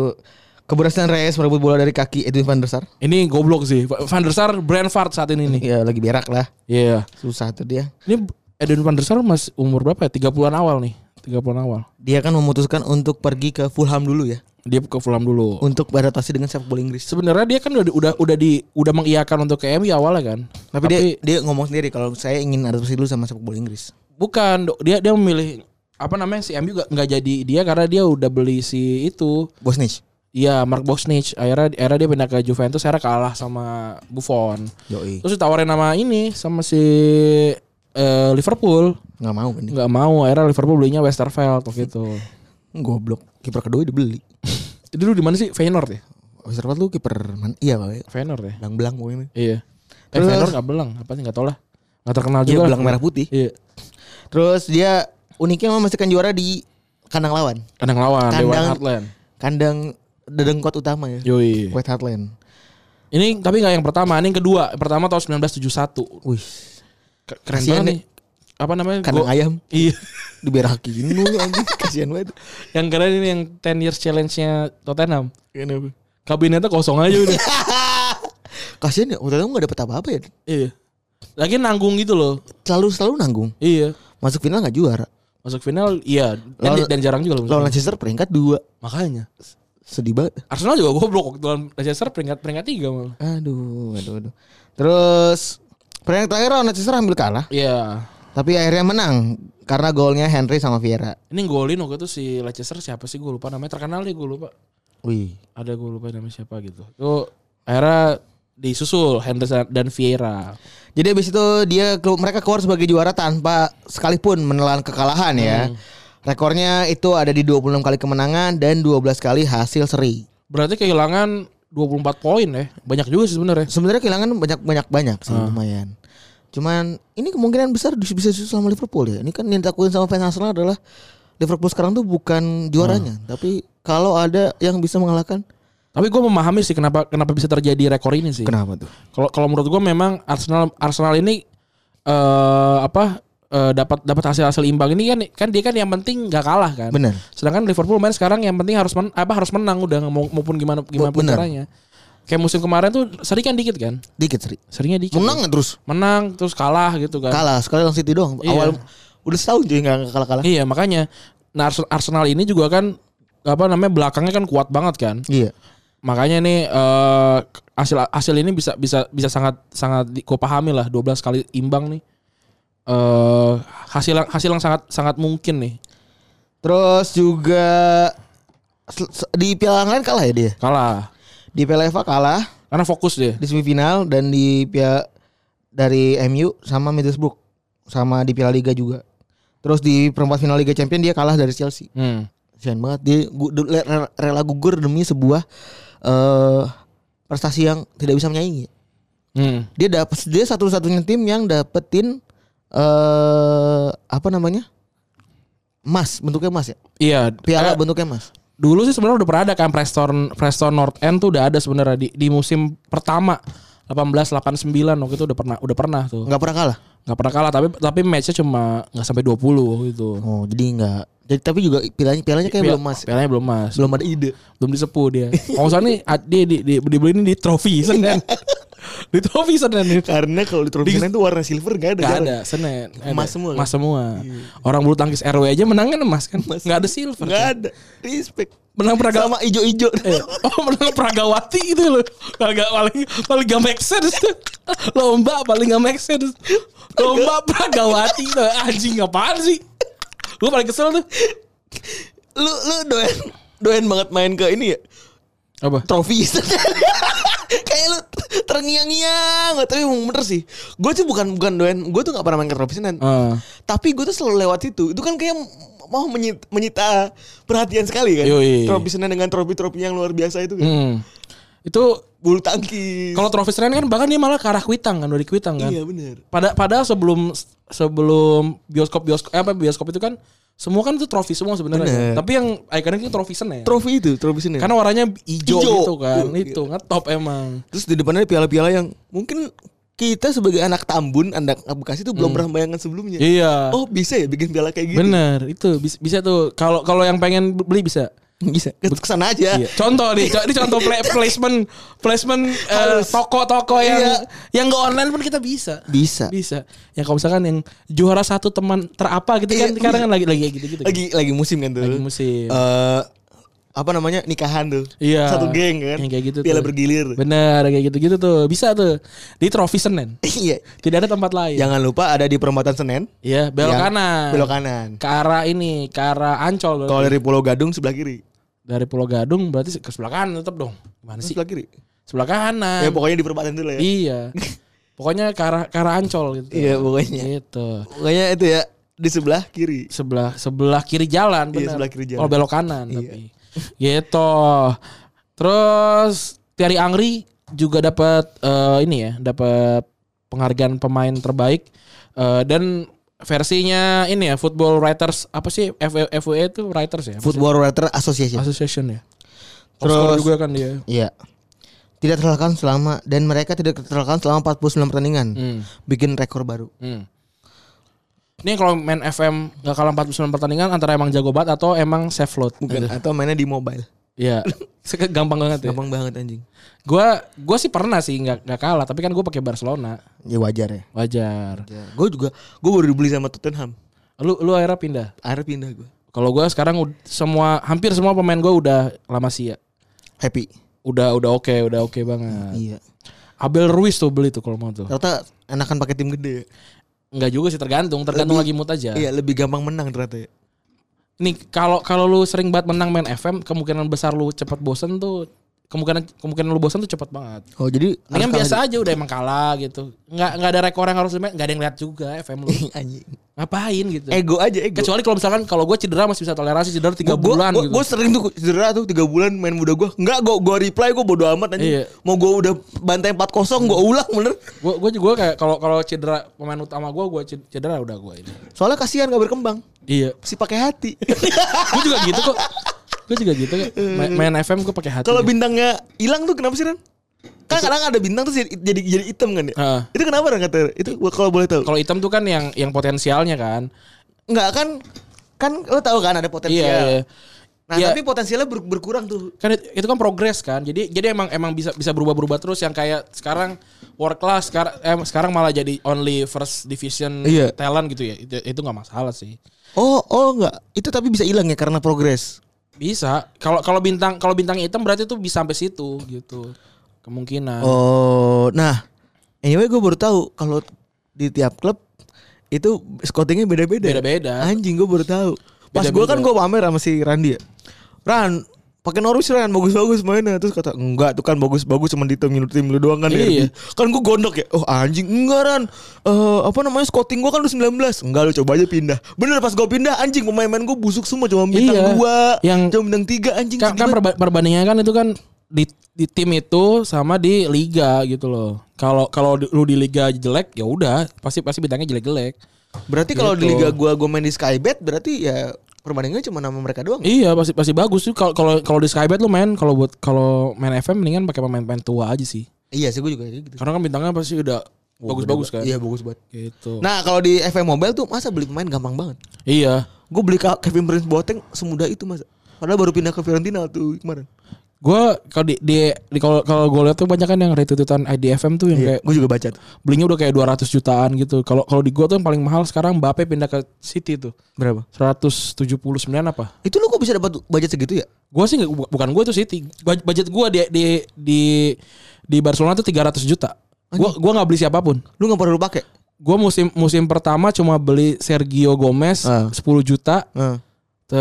Speaker 3: keberhasilan Reyes merebut bola dari kaki Edwin van der Sar.
Speaker 2: Ini goblok sih. Va- Van der Sar Brentford saat ini nih.
Speaker 3: Ya lagi berak lah.
Speaker 2: Iya.
Speaker 3: Susah tuh dia.
Speaker 2: Ini Edwin Van der Sar mas umur berapa ya? 30-an awal nih. 30-an awal.
Speaker 3: Dia kan memutuskan untuk pergi ke Fulham dulu ya.
Speaker 2: Dia ke Fulham dulu.
Speaker 3: Untuk beradaptasi dengan sepak bola Inggris.
Speaker 2: Sebenarnya dia kan udah udah udah di udah mengiyakan untuk ke MU awalnya kan.
Speaker 3: Tapi, dia dia ngomong sendiri kalau saya ingin adaptasi dulu sama sepak bola Inggris.
Speaker 2: bukan Dok. dia dia memilih apa namanya si MU gak, nggak jadi dia karena dia udah beli si itu
Speaker 3: Bosnich.
Speaker 2: Iya Mark Bosnich akhirnya akhirnya dia pindah ke Juventus akhirnya kalah sama Buffon
Speaker 3: Yoi.
Speaker 2: terus ditawarin nama ini sama si eh, Liverpool
Speaker 3: Nggak mau kan dia.
Speaker 2: nggak mau akhirnya Liverpool belinya Westerveld waktu itu
Speaker 3: Goblok. Kiper kedua dibeli.
Speaker 2: Itu dulu di mana sih Feyenoord ya
Speaker 3: Westerveld lu kiper mana? Iya, Pak.
Speaker 2: Feyenoord ya
Speaker 3: Belang-belang pokoknya.
Speaker 2: iya eh,
Speaker 3: Terus-
Speaker 2: Feyenoord nggak belang apa sih nggak tau lah nggak terkenal
Speaker 3: Dia
Speaker 2: juga lah.
Speaker 3: belang merah putih.
Speaker 2: iya
Speaker 3: Terus dia uniknya memastikan juara di kandang lawan.
Speaker 2: kandang Kan lawan Dewan
Speaker 3: Kandang-
Speaker 2: Heartland
Speaker 3: Kandang dedengkot utama ya.
Speaker 2: Yoi.
Speaker 3: White Hart Lane.
Speaker 2: Ini tapi nggak yang pertama, ini yang kedua. Yang pertama tahun 1971.
Speaker 3: Wih,
Speaker 2: K- Keren
Speaker 3: Kasihan
Speaker 2: banget
Speaker 3: deh.
Speaker 2: nih. Apa namanya?
Speaker 3: kandang
Speaker 2: Go-
Speaker 3: ayam
Speaker 2: [laughs] Iya.
Speaker 3: diberakin lu [laughs] anjing, kasihan banget.
Speaker 2: yang keren ini yang 10 years challenge-nya Tottenham.
Speaker 3: Kenapa?
Speaker 2: Kabinetnya kosong aja udah. [laughs]
Speaker 3: Kasihan ya, waktu itu enggak dapet apa-apa ya.
Speaker 2: iya. Lagi nanggung gitu loh.
Speaker 3: Selalu selalu nanggung.
Speaker 2: Iya.
Speaker 3: Masuk final nggak juara.
Speaker 2: Masuk final iya dan,
Speaker 3: Lawan-
Speaker 2: dan jarang juga loh.
Speaker 3: Lawan Manchester peringkat 2.
Speaker 2: Makanya.
Speaker 3: Sedih banget.
Speaker 2: Arsenal juga goblok waktu lawan Leicester peringkat peringkat 3 malah.
Speaker 3: Aduh, aduh, aduh. Terus peringkat terakhir lawan Manchester hampir kalah,
Speaker 2: Iya.
Speaker 3: tapi akhirnya menang karena golnya Henry sama Vieira.
Speaker 2: Ini golin waktu itu si Leicester siapa sih gue lupa namanya terkenal deh gue lupa.
Speaker 3: Wih.
Speaker 2: Ada gue lupa namanya siapa gitu. Itu akhirnya disusul Henderson dan Vieira.
Speaker 3: Jadi abis itu dia klub mereka keluar sebagai juara tanpa sekalipun menelan kekalahan ya.
Speaker 2: Hmm.
Speaker 3: Rekornya itu ada di 26 kali kemenangan dan 12 kali hasil seri.
Speaker 2: Berarti kehilangan 24 poin ya. Banyak juga sih sebenarnya.
Speaker 3: Sebenarnya kehilangan banyak banyak banyak sih
Speaker 2: Ah.
Speaker 3: lumayan. Cuman ini kemungkinan besar dis- bisa susah sama Liverpool ya. Ini kan yang ditakutin sama fans Arsenal adalah Liverpool sekarang tuh bukan juaranya,
Speaker 2: Ah.
Speaker 3: tapi kalau ada yang bisa mengalahkan
Speaker 2: Tapi gue memahami sih kenapa kenapa bisa terjadi rekor ini sih.
Speaker 3: kenapa tuh?
Speaker 2: Kalau kalau menurut gue memang Arsenal Arsenal ini eh apa eh, dapat dapat hasil hasil imbang ini kan kan dia kan yang penting nggak kalah kan.
Speaker 3: Bener.
Speaker 2: Sedangkan Liverpool main sekarang yang penting harus men, apa harus menang udah mau- maupun gimana gimana pun
Speaker 3: Bener.
Speaker 2: caranya. Kayak musim kemarin tuh seri kan dikit kan.
Speaker 3: Dikit seri.
Speaker 2: Seringnya dikit.
Speaker 3: Menang nggak terus
Speaker 2: Menang terus kalah gitu kan.
Speaker 3: kalah sekali lawan City doang.
Speaker 2: Iya.
Speaker 3: Awal udah setahun juga nggak kalah-kalah.
Speaker 2: Iya makanya. Nah Ars- Arsenal ini juga kan apa namanya belakangnya kan kuat banget kan.
Speaker 3: Iya.
Speaker 2: Makanya nih eh, hasil hasil ini bisa bisa bisa sangat sangat di- gua pahami lah 12 kali imbang nih. Eh hasil yang- hasil yang sangat sangat mungkin nih.
Speaker 3: Terus juga sel- se- di piala lain kalah ya dia.
Speaker 2: Kalah.
Speaker 3: Di Piala FA kalah
Speaker 2: Karena fokus dia.
Speaker 3: di semifinal dan di Piala dari MU sama Middlesbrough sama di Piala Liga juga. Terus di perempat final Liga Champions dia kalah dari Chelsea.
Speaker 2: Hmm.
Speaker 3: Kasihan banget dia gu- du- le- re- rela gugur demi sebuah eh prestasi yang tidak bisa menyaingi.
Speaker 2: Hmm.
Speaker 3: Dia dapat dia satu-satunya tim yang dapetin eh apa namanya? Emas, bentuknya emas ya.
Speaker 2: Iya,
Speaker 3: Piala
Speaker 2: eh,
Speaker 3: bentuknya emas.
Speaker 2: dulu sih sebenarnya udah pernah ada kan Preston Preston North End tuh udah ada sebenarnya di, di musim pertama 1889 waktu itu udah pernah udah pernah tuh.
Speaker 3: Enggak pernah kalah.
Speaker 2: nggak pernah kalah tapi tapi matchnya cuma nggak sampai 20 gitu.
Speaker 3: Oh, jadi enggak. Jadi tapi juga pilihannya pilihannya kayak belum emas.
Speaker 2: Pialanya belum mas.
Speaker 3: Belum ada ide.
Speaker 2: belum disepuh dia. Kalau usah nih ad- dia di, di, dibeli ini di trofi
Speaker 3: [laughs]
Speaker 2: Senin. di trofi Senin itu.
Speaker 3: Karena kalau di trofi itu warna silver enggak ada.
Speaker 2: Gak
Speaker 3: jarang.
Speaker 2: ada Senin. Ada.
Speaker 3: Emas semua kan?
Speaker 2: Mas semua. Orang bulu tangkis RW aja menang kan emas kan. Gak ada silver.
Speaker 3: Nggak
Speaker 2: kan?
Speaker 3: ada. Respect.
Speaker 2: Menang peragawan.
Speaker 3: Sama ijo-ijo.
Speaker 2: Eh, [laughs] oh menang peragawati itu loh. Agak paling paling gak make sense. [laughs] Lomba paling gak make sense. Lomba peragawati itu anjing apaan sih? Gue paling kesel tuh.
Speaker 3: Lu lu doyan doyan banget main ke ini ya.
Speaker 2: Apa?
Speaker 3: Trofi. [laughs] kayak lu terngiang-ngiang tapi emang bener sih gue tuh bukan bukan doyan gue tuh nggak pernah main ke trofi Senen.
Speaker 2: Eh,
Speaker 3: tapi gue tuh selalu lewat situ itu kan kayak mau menyita, menyita perhatian sekali kan
Speaker 2: Yoi.
Speaker 3: trofi Senen dengan trofi-trofi yang luar biasa itu kan.
Speaker 2: hmm. Itu
Speaker 3: bulu tangkis
Speaker 2: kalau trofi Senen kan bahkan dia malah ke arah Kuitang kan, dari Kuitang kan.
Speaker 3: iya bener
Speaker 2: Pada padahal sebelum sebelum bioskop bioskop eh, apa bioskop itu kan semua kan itu trofi semua sebenarnya.
Speaker 3: Bener.
Speaker 2: Tapi yang ikonik itu trofi Senen.
Speaker 3: trofi itu trofi Senen.
Speaker 2: Karena warnanya hijau,
Speaker 3: Ijo.
Speaker 2: gitu kan.
Speaker 3: Tuh,
Speaker 2: itu ngetop emang.
Speaker 3: Terus di depannya ada piala-piala yang mungkin kita sebagai anak Tambun, anak Bekasi itu belum pernah bayangkan sebelumnya.
Speaker 2: Hmm. Iya.
Speaker 3: Oh bisa ya bikin piala kayak gitu?
Speaker 2: Bener, itu bisa, bisa tuh. Kalau kalau yang pengen beli bisa.
Speaker 3: Bisa. Ke kesana aja.
Speaker 2: Iya. Contoh nih, co- ini contoh pla- placement placement eh,
Speaker 3: Harus.
Speaker 2: toko-toko yang
Speaker 3: Iya.
Speaker 2: yang nggak online pun kita bisa.
Speaker 3: Bisa.
Speaker 2: [laughs] Bisa. Ya kalau misalkan yang juara satu teman terapa gitu kan
Speaker 3: Iya,
Speaker 2: sekarang kan lagi lagi kayak gitu-gitu. kan.
Speaker 3: Lagi lagi musim kan tuh.
Speaker 2: Lagi musim.
Speaker 3: Eh, apa namanya nikahan tuh?
Speaker 2: Iya.
Speaker 3: Satu geng kan?
Speaker 2: Yang kayak gitu
Speaker 3: Piala
Speaker 2: tuh.
Speaker 3: bergilir.
Speaker 2: Bener kayak gitu-gitu tuh. Bisa tuh. Di trofi Senen.
Speaker 3: Iya.
Speaker 2: Tidak ada tempat lain.
Speaker 3: Jangan lupa ada di perempatan Senen.
Speaker 2: Iya, belok
Speaker 3: Yang-
Speaker 2: kanan.
Speaker 3: Belok kanan.
Speaker 2: Ke arah ini, ke arah Ancol.
Speaker 3: Kalau dari Pulau Gadung sebelah kiri.
Speaker 2: dari Pulau Gadung berarti ke sebelah kanan tetap dong. Gimana sih?
Speaker 3: Sebelah kiri.
Speaker 2: Sebelah kanan.
Speaker 3: Ya pokoknya di perempatan itu lah ya.
Speaker 2: Nah. Iya. Pokoknya ke arah, ke arah Ancol gitu.
Speaker 3: Iya, pokoknya.
Speaker 2: Gitu.
Speaker 3: Pokoknya itu ya di sebelah kiri.
Speaker 2: Sebelah sebelah kiri jalan benar.
Speaker 3: Iya, sebelah kiri jalan. Iya.
Speaker 2: Kalau belok kanan tapi. Gitu. Terus Thierry Angri juga dapat eh, ini ya, dapat penghargaan pemain terbaik Eh, dan versinya ini ya Football Writers apa sih F- FWA itu writers ya Apa sih?
Speaker 3: Football Writer Association.
Speaker 2: Association ya
Speaker 3: Terus-
Speaker 2: Oscar juga kan dia
Speaker 3: Iya. Tidak terkalahkan selama dan mereka tidak terkalahkan selama 49 pertandingan.
Speaker 2: Hmm.
Speaker 3: Bikin rekor baru.
Speaker 2: Hmm. Ini kalau main FM gak kalah 49 pertandingan antara emang jago banget atau emang safe load. Aduh.
Speaker 3: Atau mainnya di mobile.
Speaker 2: Iya. [laughs] Seke- Gampang banget ya.
Speaker 3: Gampang banget anjing.
Speaker 2: Gua gua sih pernah sih nggak nggak kalah, tapi kan gua pakai Barcelona.
Speaker 3: Ya wajar ya.
Speaker 2: Wajar.
Speaker 3: Gue juga gue baru dibeli sama Tottenham.
Speaker 2: Lu lu akhirnya pindah.
Speaker 3: Akhirnya pindah gue.
Speaker 2: Kalau gua sekarang ud- semua hampir semua pemain gua udah lama sih ya.
Speaker 3: Happy.
Speaker 2: Udah udah oke, udah oke banget.
Speaker 3: Iya.
Speaker 2: Abel Ruiz tuh beli tuh kalau mau tuh.
Speaker 3: Ternyata enakan pakai tim gede. ya.
Speaker 2: Enggak juga sih tergantung, tergantung lagi mood aja.
Speaker 3: Iya, lebih gampang menang ternyata ya.
Speaker 2: Nih kalau kalau lu sering banget menang main FM, kemungkinan besar lu cepat bosen tuh kemungkinan kemungkinan lu bosen tuh cepat banget.
Speaker 3: Oh, jadi
Speaker 2: Mendingan biasa aja udah emang kalah gitu. Nggak nggak ada rekor yang harus dimain, nggak ada yang lihat juga FM [laughs] lu.
Speaker 3: anjing.
Speaker 2: Ngapain gitu.
Speaker 3: Ego aja ego.
Speaker 2: Kecuali kalau misalkan kalau gue cedera masih bisa toleransi cedera 3 bulan
Speaker 3: gua,
Speaker 2: gitu.
Speaker 3: Gue sering tuh cedera tuh 3 bulan main muda gue. Enggak, gue gua reply gue bodo amat anjing.
Speaker 2: Iya.
Speaker 3: Mau gue udah bantai 4-0 gue ulang bener.
Speaker 2: Gue gue juga kayak kalau kalau cedera pemain utama gue gue cedera udah gue ini.
Speaker 3: Soalnya kasihan gak berkembang.
Speaker 2: Iya.
Speaker 3: Si pakai hati. [laughs]
Speaker 2: Gue juga gitu kok. Gue juga gitu kok. Main, main FM gue pakai hati.
Speaker 3: Kalau bintangnya hilang tuh kenapa sih Ren? Kan kadang ada bintang terus jadi jadi, jadi hitam kan ya?
Speaker 2: Heeh.
Speaker 3: Itu kenapa Ren kata itu kalau boleh tahu?
Speaker 2: Kalau hitam tuh kan yang yang potensialnya kan.
Speaker 3: Enggak kan kan lo tahu kan ada potensial.
Speaker 2: Iya. iya.
Speaker 3: Nah,
Speaker 2: Iya.
Speaker 3: tapi potensialnya ber- berkurang tuh.
Speaker 2: kan itu, itu kan progres kan jadi jadi emang emang bisa bisa berubah-berubah terus yang kayak sekarang world class sekarang eh, sekarang malah jadi only first division
Speaker 3: Iya.
Speaker 2: talent gitu ya itu itu nggak masalah sih
Speaker 3: Oh, oh enggak. Itu tapi bisa hilang ya karena progres.
Speaker 2: bisa kalau kalau bintang kalau bintang hitam berarti tuh bisa sampai situ gitu kemungkinan
Speaker 3: Oh, nah. Anyway, gue baru tahu kalau di tiap klub itu scoutingnya beda-beda.
Speaker 2: Beda-beda.
Speaker 3: Anjing, gue baru tahu. Pas
Speaker 2: Beda-beda.
Speaker 3: gue kan gue pamer sama si Randi ya. Ran, Pakai Norwich kan bagus-bagus mainnya terus kata enggak tuh kan bagus-bagus cuma di tim tim lu doang kan di
Speaker 2: Iya.
Speaker 3: RB." Kan gue gondok ya. Oh anjing enggak Ran. Eh, apa namanya scouting gua kan udah 19. Enggak lu coba aja pindah. Bener pas gua pindah anjing pemain-pemain gua busuk semua cuma bintang
Speaker 2: Iya.
Speaker 3: 2,
Speaker 2: Yang-
Speaker 3: cuma bintang 3 anjing.
Speaker 2: Kan, kan
Speaker 3: Tiba-
Speaker 2: perba- perbandingannya kan itu kan di di tim itu sama di liga gitu loh. Kalau kalau di- lu di liga jelek ya udah pasti pasti bidangnya jelek-jelek.
Speaker 3: berarti kalau di
Speaker 2: gitu.
Speaker 3: liga gua gua main di Skybet berarti ya perbandingannya cuma nama mereka doang. ya?
Speaker 2: Iya pasti pasti bagus sih kalau kalau kalau di Skybet lu main kalau buat kalau main FM mendingan pakai pemain-pemain tua aja sih.
Speaker 3: Iya sih gua juga kayak gitu.
Speaker 2: Karena kan bintangnya pasti udah bagus-bagus kan.
Speaker 3: Iya bagus banget.
Speaker 2: Gitu.
Speaker 3: Nah kalau di FM Mobile tuh masa beli pemain gampang banget.
Speaker 2: iya.
Speaker 3: Gue beli Ka- Kevin Prince Boateng semudah itu masa. Padahal baru pindah ke Fiorentina tuh kemarin.
Speaker 2: Gue kalau di, di, di- kalau kalau gue lihat tuh banyak kan yang retweetan IDFM tuh yang kayak
Speaker 3: Gue juga baca tuh.
Speaker 2: belinya udah kayak 200 jutaan gitu. Kalau kalau di gua tuh yang paling mahal sekarang Mbappe pindah ke City tuh.
Speaker 3: Berapa?
Speaker 2: 179 apa?
Speaker 3: Itu lu kok bisa dapat budget segitu ya?
Speaker 2: Gua sih nggak- bu- bukan gua tuh City. Baj- Budget gua di di di di Barcelona tuh 300 juta. Gua gua nggak beli siapapun.
Speaker 3: Lu nggak pernah lu pakai?
Speaker 2: Gua musim musim pertama cuma beli Sergio Gomez
Speaker 3: Ah.
Speaker 2: 10 juta.
Speaker 3: Heeh.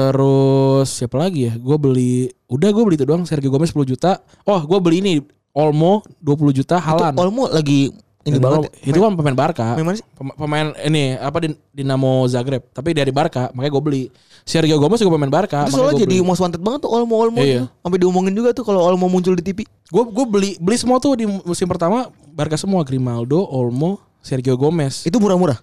Speaker 2: Terus siapa lagi ya? Gua beli udah gua beli itu doang Sergio Gomez 10 juta. Oh, gua beli ini Olmo 20 juta Halan.
Speaker 3: Olmo ah, lagi ini banget. ya.
Speaker 2: Itu kan pemain Barca.
Speaker 3: Main mana sih?
Speaker 2: Pem- pemain ini apa Din- Dinamo Zagreb tapi dari Barca makanya gue beli Sergio Gomez juga pemain Barca
Speaker 3: Itu soalnya jadi
Speaker 2: gue beli
Speaker 3: most wanted banget tuh Olmo Olmo.
Speaker 2: Iya.
Speaker 3: tuh. Sampai diomongin juga tuh kalau Olmo muncul di TV.
Speaker 2: gue beli beli semua tuh di musim pertama Barca semua Grimaldo Olmo Sergio Gomez
Speaker 3: Itu murah-murah.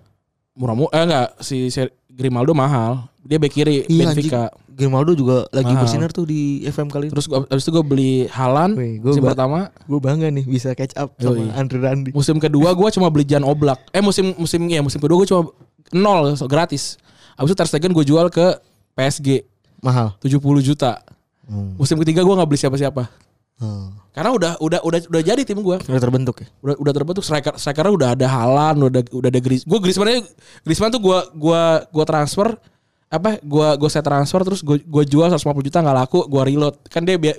Speaker 2: murah murah eh, enggak si Ser- Grimaldo mahal dia bek kiri Benfica
Speaker 3: Iya, anjing. Grimaldo juga lagi
Speaker 2: Mahal.
Speaker 3: bersinar tuh di FM kali ini.
Speaker 2: terus gua, abis itu gue beli Halan
Speaker 3: Wih, gua
Speaker 2: musim
Speaker 3: ba-
Speaker 2: pertama
Speaker 3: Gue bangga nih bisa catch up sama
Speaker 2: Yoi.
Speaker 3: Andre Randi.
Speaker 2: musim kedua gue cuma beli Jan Oblak eh musim musim ya musim kedua gue cuma nol so, gratis abis itu Ter Stegen gue jual ke PSG
Speaker 3: Mahal.
Speaker 2: 70 juta
Speaker 3: Hmm.
Speaker 2: musim ketiga gue nggak beli siapa-siapa
Speaker 3: Hmm.
Speaker 2: Karena udah udah udah udah jadi tim gua.
Speaker 3: Udah terbentuk ya.
Speaker 2: Udah udah terbentuk striker striker udah ada Halan, udah udah ada Gris. Gua Griezmann Griezmann tuh gua gua gua transfer apa gua gua saya transfer terus gua gua jual 150 juta nggak laku, gua reload. Kan dia biar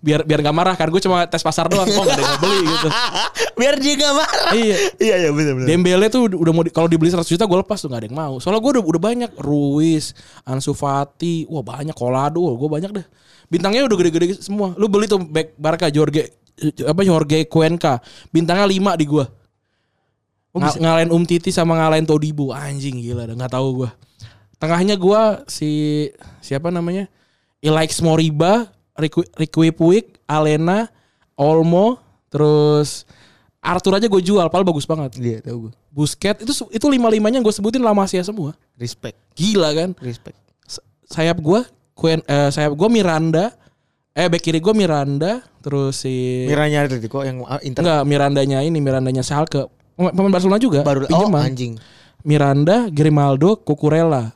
Speaker 2: biar biar nggak marah kan gua cuma tes pasar doang. Oh nggak ada yang mau beli gitu.
Speaker 3: [laughs] Biar dia gak marah.
Speaker 2: Iya.
Speaker 3: Iya iya benar benar.
Speaker 2: Dembele tuh udah mau di- kalau dibeli 100 juta gua lepas tuh nggak ada yang mau. Soalnya gua udah udah banyak Ruiz, Ansu Fati, wah banyak Colado, gua banyak deh. Bintangnya udah gede-gede semua. Lu beli tuh back Barca Jorge eh, apa Jorge Cuenca. Bintangnya 5 di gua. Nga- ngalahin Umtiti sama ngalahin Todibo anjing gila dah nggak tahu gua. Tengahnya gua si siapa namanya? Ilaix Moriba, Riku- Ricky Puig, Alena, Olmo, terus Arthur aja gue jual, padahal bagus banget.
Speaker 3: Iya tahu gue.
Speaker 2: Busket itu itu lima limanya gue sebutin La Masia semua.
Speaker 3: Respect,
Speaker 2: Gila kan?
Speaker 3: respect.
Speaker 2: S- Sayap gue, Quen, eh, sayap gue Miranda, eh back kiri gue Miranda, terus si
Speaker 3: Miranya Atletico yang ah, Inter
Speaker 2: enggak Mirandanya ini Mirandanya Schalke. Pem- Pemain Barcelona juga.
Speaker 3: baru oh
Speaker 2: pinjeman.
Speaker 3: anjing.
Speaker 2: Miranda, Grimaldo, Cucurella.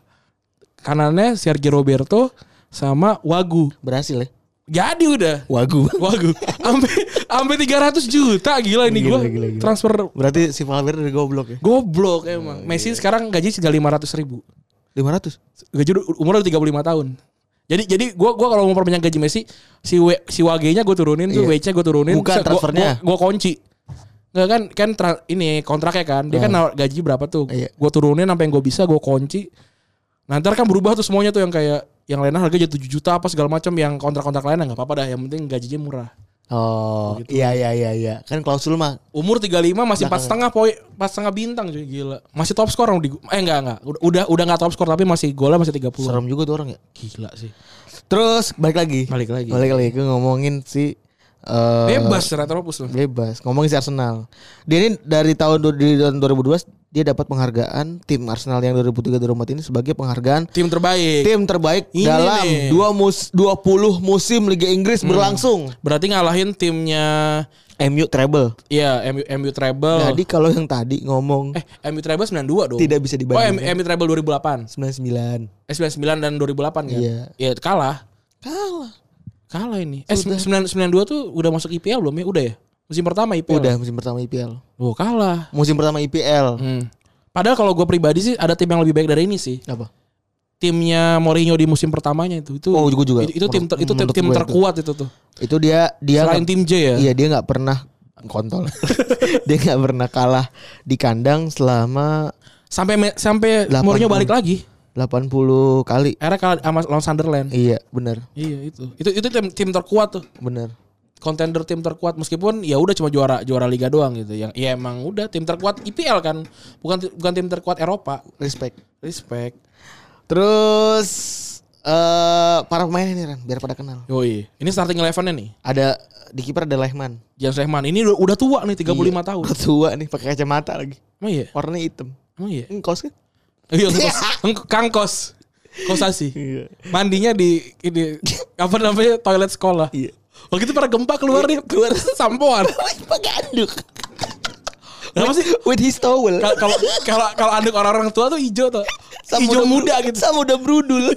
Speaker 2: Kanannya Sergio Roberto sama Wagu.
Speaker 3: Berhasil ya.
Speaker 2: Jadi udah.
Speaker 3: Wagu.
Speaker 2: Wagu. Sampai sampai 300 juta gila ini
Speaker 3: Gila,
Speaker 2: gue
Speaker 3: gila, gila.
Speaker 2: transfer
Speaker 3: [laughs] Berarti si Valverde udah goblok ya.
Speaker 2: goblok emang. Messi sekarang gaji tinggal 500 ribu.
Speaker 3: 500.
Speaker 2: gaji udah- umur udah 35 tahun. Jadi jadi gua gua kalau mau perpanjang gaji Messi si W, si wagenya gua turunin, si
Speaker 3: Iya.
Speaker 2: WC gua turunin,
Speaker 3: Bukan
Speaker 2: terus gua-
Speaker 3: transfernya.
Speaker 2: Gua, gua kunci. Enggak kan kan tra- ini kontraknya kan. Dia kan nawar gaji berapa tuh?
Speaker 3: Iya.
Speaker 2: Gua turunin sampai yang gua bisa gua kunci. Nah, ntar kan berubah tuh semuanya tuh yang kayak yang lainnya harga jadi 7 juta apa segala macam yang kontrak-kontrak lainnya nggak apa-apa dah yang penting gajinya murah.
Speaker 3: Oh,
Speaker 2: Gitu.
Speaker 3: iya iya iya iya. Kan klausul mah
Speaker 2: Umur 35 masih empat setengah poin, empat setengah bintang cuy gila. Masih top skor di eh enggak enggak. Udah udah enggak top skor tapi masih golnya masih 30.
Speaker 3: serem juga tuh orang ya.
Speaker 2: Gila sih.
Speaker 3: Terus balik lagi.
Speaker 2: Balik lagi.
Speaker 3: Balik lagi gue ngomongin si eh,
Speaker 2: Bebas Retropus tuh.
Speaker 3: bebas ngomongin si Arsenal. Dia ini dari tahun du- di tahun 2012 dia dapat penghargaan tim Arsenal yang 2003 2004 ini sebagai penghargaan
Speaker 2: tim terbaik.
Speaker 3: tim terbaik
Speaker 2: Ini
Speaker 3: dalam
Speaker 2: nih. Hmm.
Speaker 3: dua mus 20 musim Liga Inggris berlangsung.
Speaker 2: Berarti ngalahin timnya
Speaker 3: MU treble.
Speaker 2: ya MU, MU Treble.
Speaker 3: Jadi kalau yang tadi ngomong
Speaker 2: eh MU Treble 92 dong.
Speaker 3: Nah, tidak bisa
Speaker 2: Oh M-
Speaker 3: dibandingkan.
Speaker 2: MU Treble 2008.
Speaker 3: 99.
Speaker 2: Eh 99 dan 2008 kan.
Speaker 3: Iya.
Speaker 2: Ya kalah.
Speaker 3: Kalah.
Speaker 2: Kalah ini. Eh 9- 92 tuh udah masuk IPL belum ya? Udah ya? Musim pertama IPL.
Speaker 3: Udah musim pertama IPL.
Speaker 2: Oh, kalah.
Speaker 3: Musim pertama IPL.
Speaker 2: Hmm. Padahal kalau gue pribadi sih ada tim yang lebih baik dari ini sih.
Speaker 3: Apa?
Speaker 2: Timnya Mourinho di musim pertamanya itu. Itu
Speaker 3: Oh, gue juga.
Speaker 2: itu, itu tim ter- itu tim,
Speaker 3: Menurut
Speaker 2: tim
Speaker 3: gue itu.
Speaker 2: terkuat itu tuh.
Speaker 3: Itu dia dia
Speaker 2: Selain
Speaker 3: nggak-
Speaker 2: tim J ya.
Speaker 3: Iya, dia nggak pernah kontol. [laughs] dia nggak pernah kalah di kandang selama
Speaker 2: Sampai me- sampai
Speaker 3: Delapan
Speaker 2: Mourinho
Speaker 3: tahun.
Speaker 2: balik lagi.
Speaker 3: 80 kali.
Speaker 2: Era kalah sama lawan Sunderland.
Speaker 3: Iya, benar.
Speaker 2: Iya itu. Itu itu tim, tim terkuat tuh.
Speaker 3: Benar.
Speaker 2: Contender tim terkuat meskipun ya udah cuma juara juara liga doang gitu. Yang ya emang udah tim terkuat IPL kan. Bukan bukan tim terkuat Eropa.
Speaker 3: Respect.
Speaker 2: Respect.
Speaker 3: Terus eh para pemainnya nih Ran, biar pada kenal.
Speaker 2: Yoi. Ini starting eleven-nya nih.
Speaker 3: Ada di kiper ada Lehman.
Speaker 2: James Rehman ini udah, udah tua nih 35 [laughs] tahun.
Speaker 3: Udah tua nih pakai kacamata lagi.
Speaker 2: Emang iya?
Speaker 3: Warnanya hitam.
Speaker 2: Emang iya?
Speaker 3: Engkos kan?
Speaker 2: Iya, [laughs] kos. Eng- Kangkos. Kosasi.
Speaker 3: Iya.
Speaker 2: Mandinya di ini apa namanya? toilet sekolah.
Speaker 3: Iya.
Speaker 2: Waktu itu pada gempa keluar nih, keluar [laughs] sampoan.
Speaker 3: pakai anduk.
Speaker 2: Kenapa sih?
Speaker 3: With his towel.
Speaker 2: Kal- Kalau kalau kalau anduk orang-orang tua tuh hijau tuh.
Speaker 3: Sama
Speaker 2: Hijau
Speaker 3: udah-
Speaker 2: muda gitu.
Speaker 3: Sama udah brudul. [laughs]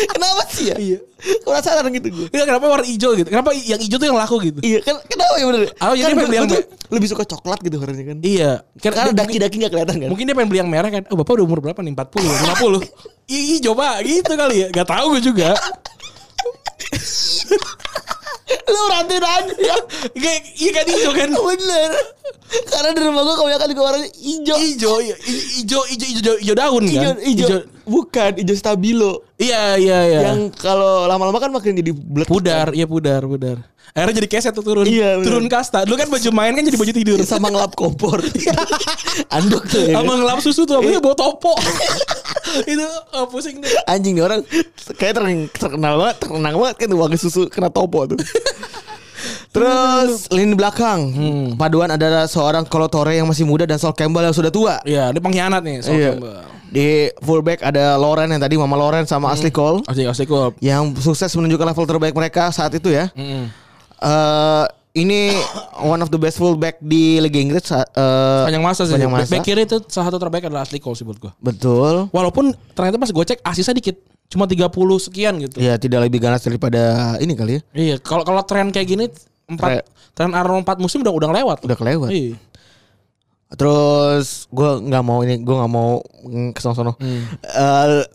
Speaker 3: kenapa sih ya?
Speaker 2: Iya.
Speaker 3: Penasaran gitu gue.
Speaker 2: Iya, kenapa warna hijau gitu? Kenapa yang hijau tuh yang laku gitu?
Speaker 3: Iya, kan kenapa ya bener?
Speaker 2: Oh, jadi
Speaker 3: kan
Speaker 2: pengen
Speaker 3: gue- gue
Speaker 2: yang-
Speaker 3: tuh lebih suka coklat gitu warnanya kan.
Speaker 2: Iya.
Speaker 3: Karena
Speaker 2: Karena mungkin,
Speaker 3: daki-daki gak kelihatan kan.
Speaker 2: mungkin dia pengen beli yang merah kan. Oh, Bapak udah umur berapa nih? 40,
Speaker 3: [laughs]
Speaker 2: 50. Ih, hijau Pak, gitu kali ya. Gak tahu gue juga.
Speaker 3: Lu rantai aja.
Speaker 2: Iya iya kan hijau kan.
Speaker 3: bener. Karena di rumah gue kebanyakan juga warnanya hijau.
Speaker 2: Hijau, iya. hijau, hijau, hijau, hijau daun kan.
Speaker 3: Hijau, hijau.
Speaker 2: Hijau-
Speaker 3: Bukan, hijau stabilo.
Speaker 2: Iya, iya, iya.
Speaker 3: Yang kalau lama-lama kan makin jadi bulat.
Speaker 2: pudar, iya pudar, pudar. Akhirnya jadi keset tuh turun.
Speaker 3: Iya, bener. Iya,
Speaker 2: turun kasta. Dulu kan baju main kan jadi baju tidur.
Speaker 3: Sama ngelap kompor. Anduk tuh ya. kan?
Speaker 2: Sama ngelap susu tuh, apanya bawa topo. [laughs] itu oh, pusing deh.
Speaker 3: Anjing nih orang kayak ter- terkenal banget, terkenal banget kan wangi susu kena topo
Speaker 2: [laughs]
Speaker 3: tuh. Terus lini belakang
Speaker 2: Hmm.
Speaker 3: paduan ada seorang Kolotore yang masih muda dan Sol Campbell yang sudah tua.
Speaker 2: Iya, dia pengkhianat nih. Sol
Speaker 3: Iya.
Speaker 2: Campbell. Hmm.
Speaker 3: Di fullback ada Loren yang tadi Mama Loren sama Ashley Cole
Speaker 2: Asik, asik kok.
Speaker 3: yang sukses menunjukkan level terbaik mereka saat itu ya.
Speaker 2: Hmm.
Speaker 3: Eh, ini [coughs] one of the best fullback di Liga Inggris. sa- eh,
Speaker 2: Panjang masa sih.
Speaker 3: Sepanjang masa.
Speaker 2: Back kiri itu salah satu terbaik adalah asli kok sih buat gue.
Speaker 3: Betul.
Speaker 2: Walaupun ternyata pas gue cek asisnya dikit. Cuma 30 sekian gitu.
Speaker 3: Ya tidak lebih ganas daripada ini kali ya.
Speaker 2: Iya, kalau kalau tren kayak gini empat tren Arnold 4 musim udah udah lewat.
Speaker 3: Udah kelewat.
Speaker 2: Iya.
Speaker 3: Terus gue nggak mau ini, gue nggak mau mm, ke sono.
Speaker 2: Hmm.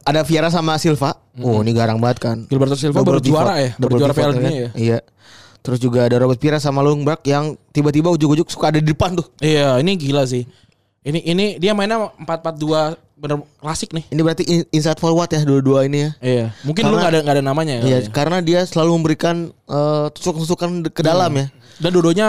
Speaker 3: ada Viera sama Silva. Oh, ini garang banget kan.
Speaker 2: Gilberto Hmm. Silva baru
Speaker 3: Double
Speaker 2: juara
Speaker 3: pivot.
Speaker 2: ya, baru
Speaker 3: Double
Speaker 2: juara
Speaker 3: pivot,
Speaker 2: Piala Dunia ya.
Speaker 3: Iya. Terus juga ada Robert Pira sama Lundberg yang tiba-tiba ujuk-ujuk suka ada di depan tuh.
Speaker 2: Iya, ini gila sih. Ini ini dia mainnya 4-4-2 bener klasik nih.
Speaker 3: Ini berarti in- inside forward ya dua-dua ini ya.
Speaker 2: Iya, mungkin lu
Speaker 3: Karena-
Speaker 2: gak ada gak ada namanya ya.
Speaker 3: Iya,
Speaker 2: kali ya.
Speaker 3: karena dia selalu memberikan eh, tusuk-tusukan ke dalam
Speaker 2: Hmm.
Speaker 3: ya.
Speaker 2: Dan dua-duanya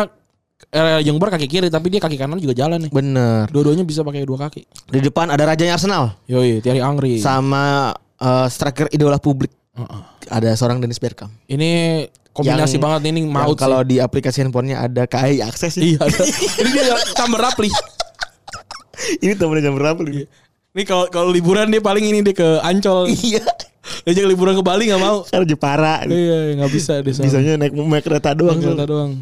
Speaker 2: eh, Jungberg kaki kiri tapi dia kaki kanan juga jalan nih.
Speaker 3: Bener.
Speaker 2: Dua-duanya bisa pakai dua kaki.
Speaker 3: Di depan ada rajanya Arsenal
Speaker 2: Yoi, Thierry Angri.
Speaker 3: sama eh, striker idola publik.
Speaker 2: Iya. Heeh.
Speaker 3: Ada seorang Dennis Bergkamp.
Speaker 2: Ini kombinasi
Speaker 3: Yang-
Speaker 2: banget nih, ini
Speaker 3: Yang
Speaker 2: maut
Speaker 3: kalau di aplikasi handphonenya ada KAI akses ya. [laughs]
Speaker 2: sih. Iya. ada. [laughs] ini dia tambah rapli.
Speaker 3: ini temennya jam berapa lu?
Speaker 2: Iya. Ini kalau kalau liburan dia paling ini dia ke Ancol.
Speaker 3: [laughs] Iya.
Speaker 2: Dia jangan liburan ke Bali nggak mau.
Speaker 3: Karena Jepara.
Speaker 2: Iya, nggak bisa dia. sama.
Speaker 3: Bisanya naik naik kereta doang.
Speaker 2: Jakarta doang.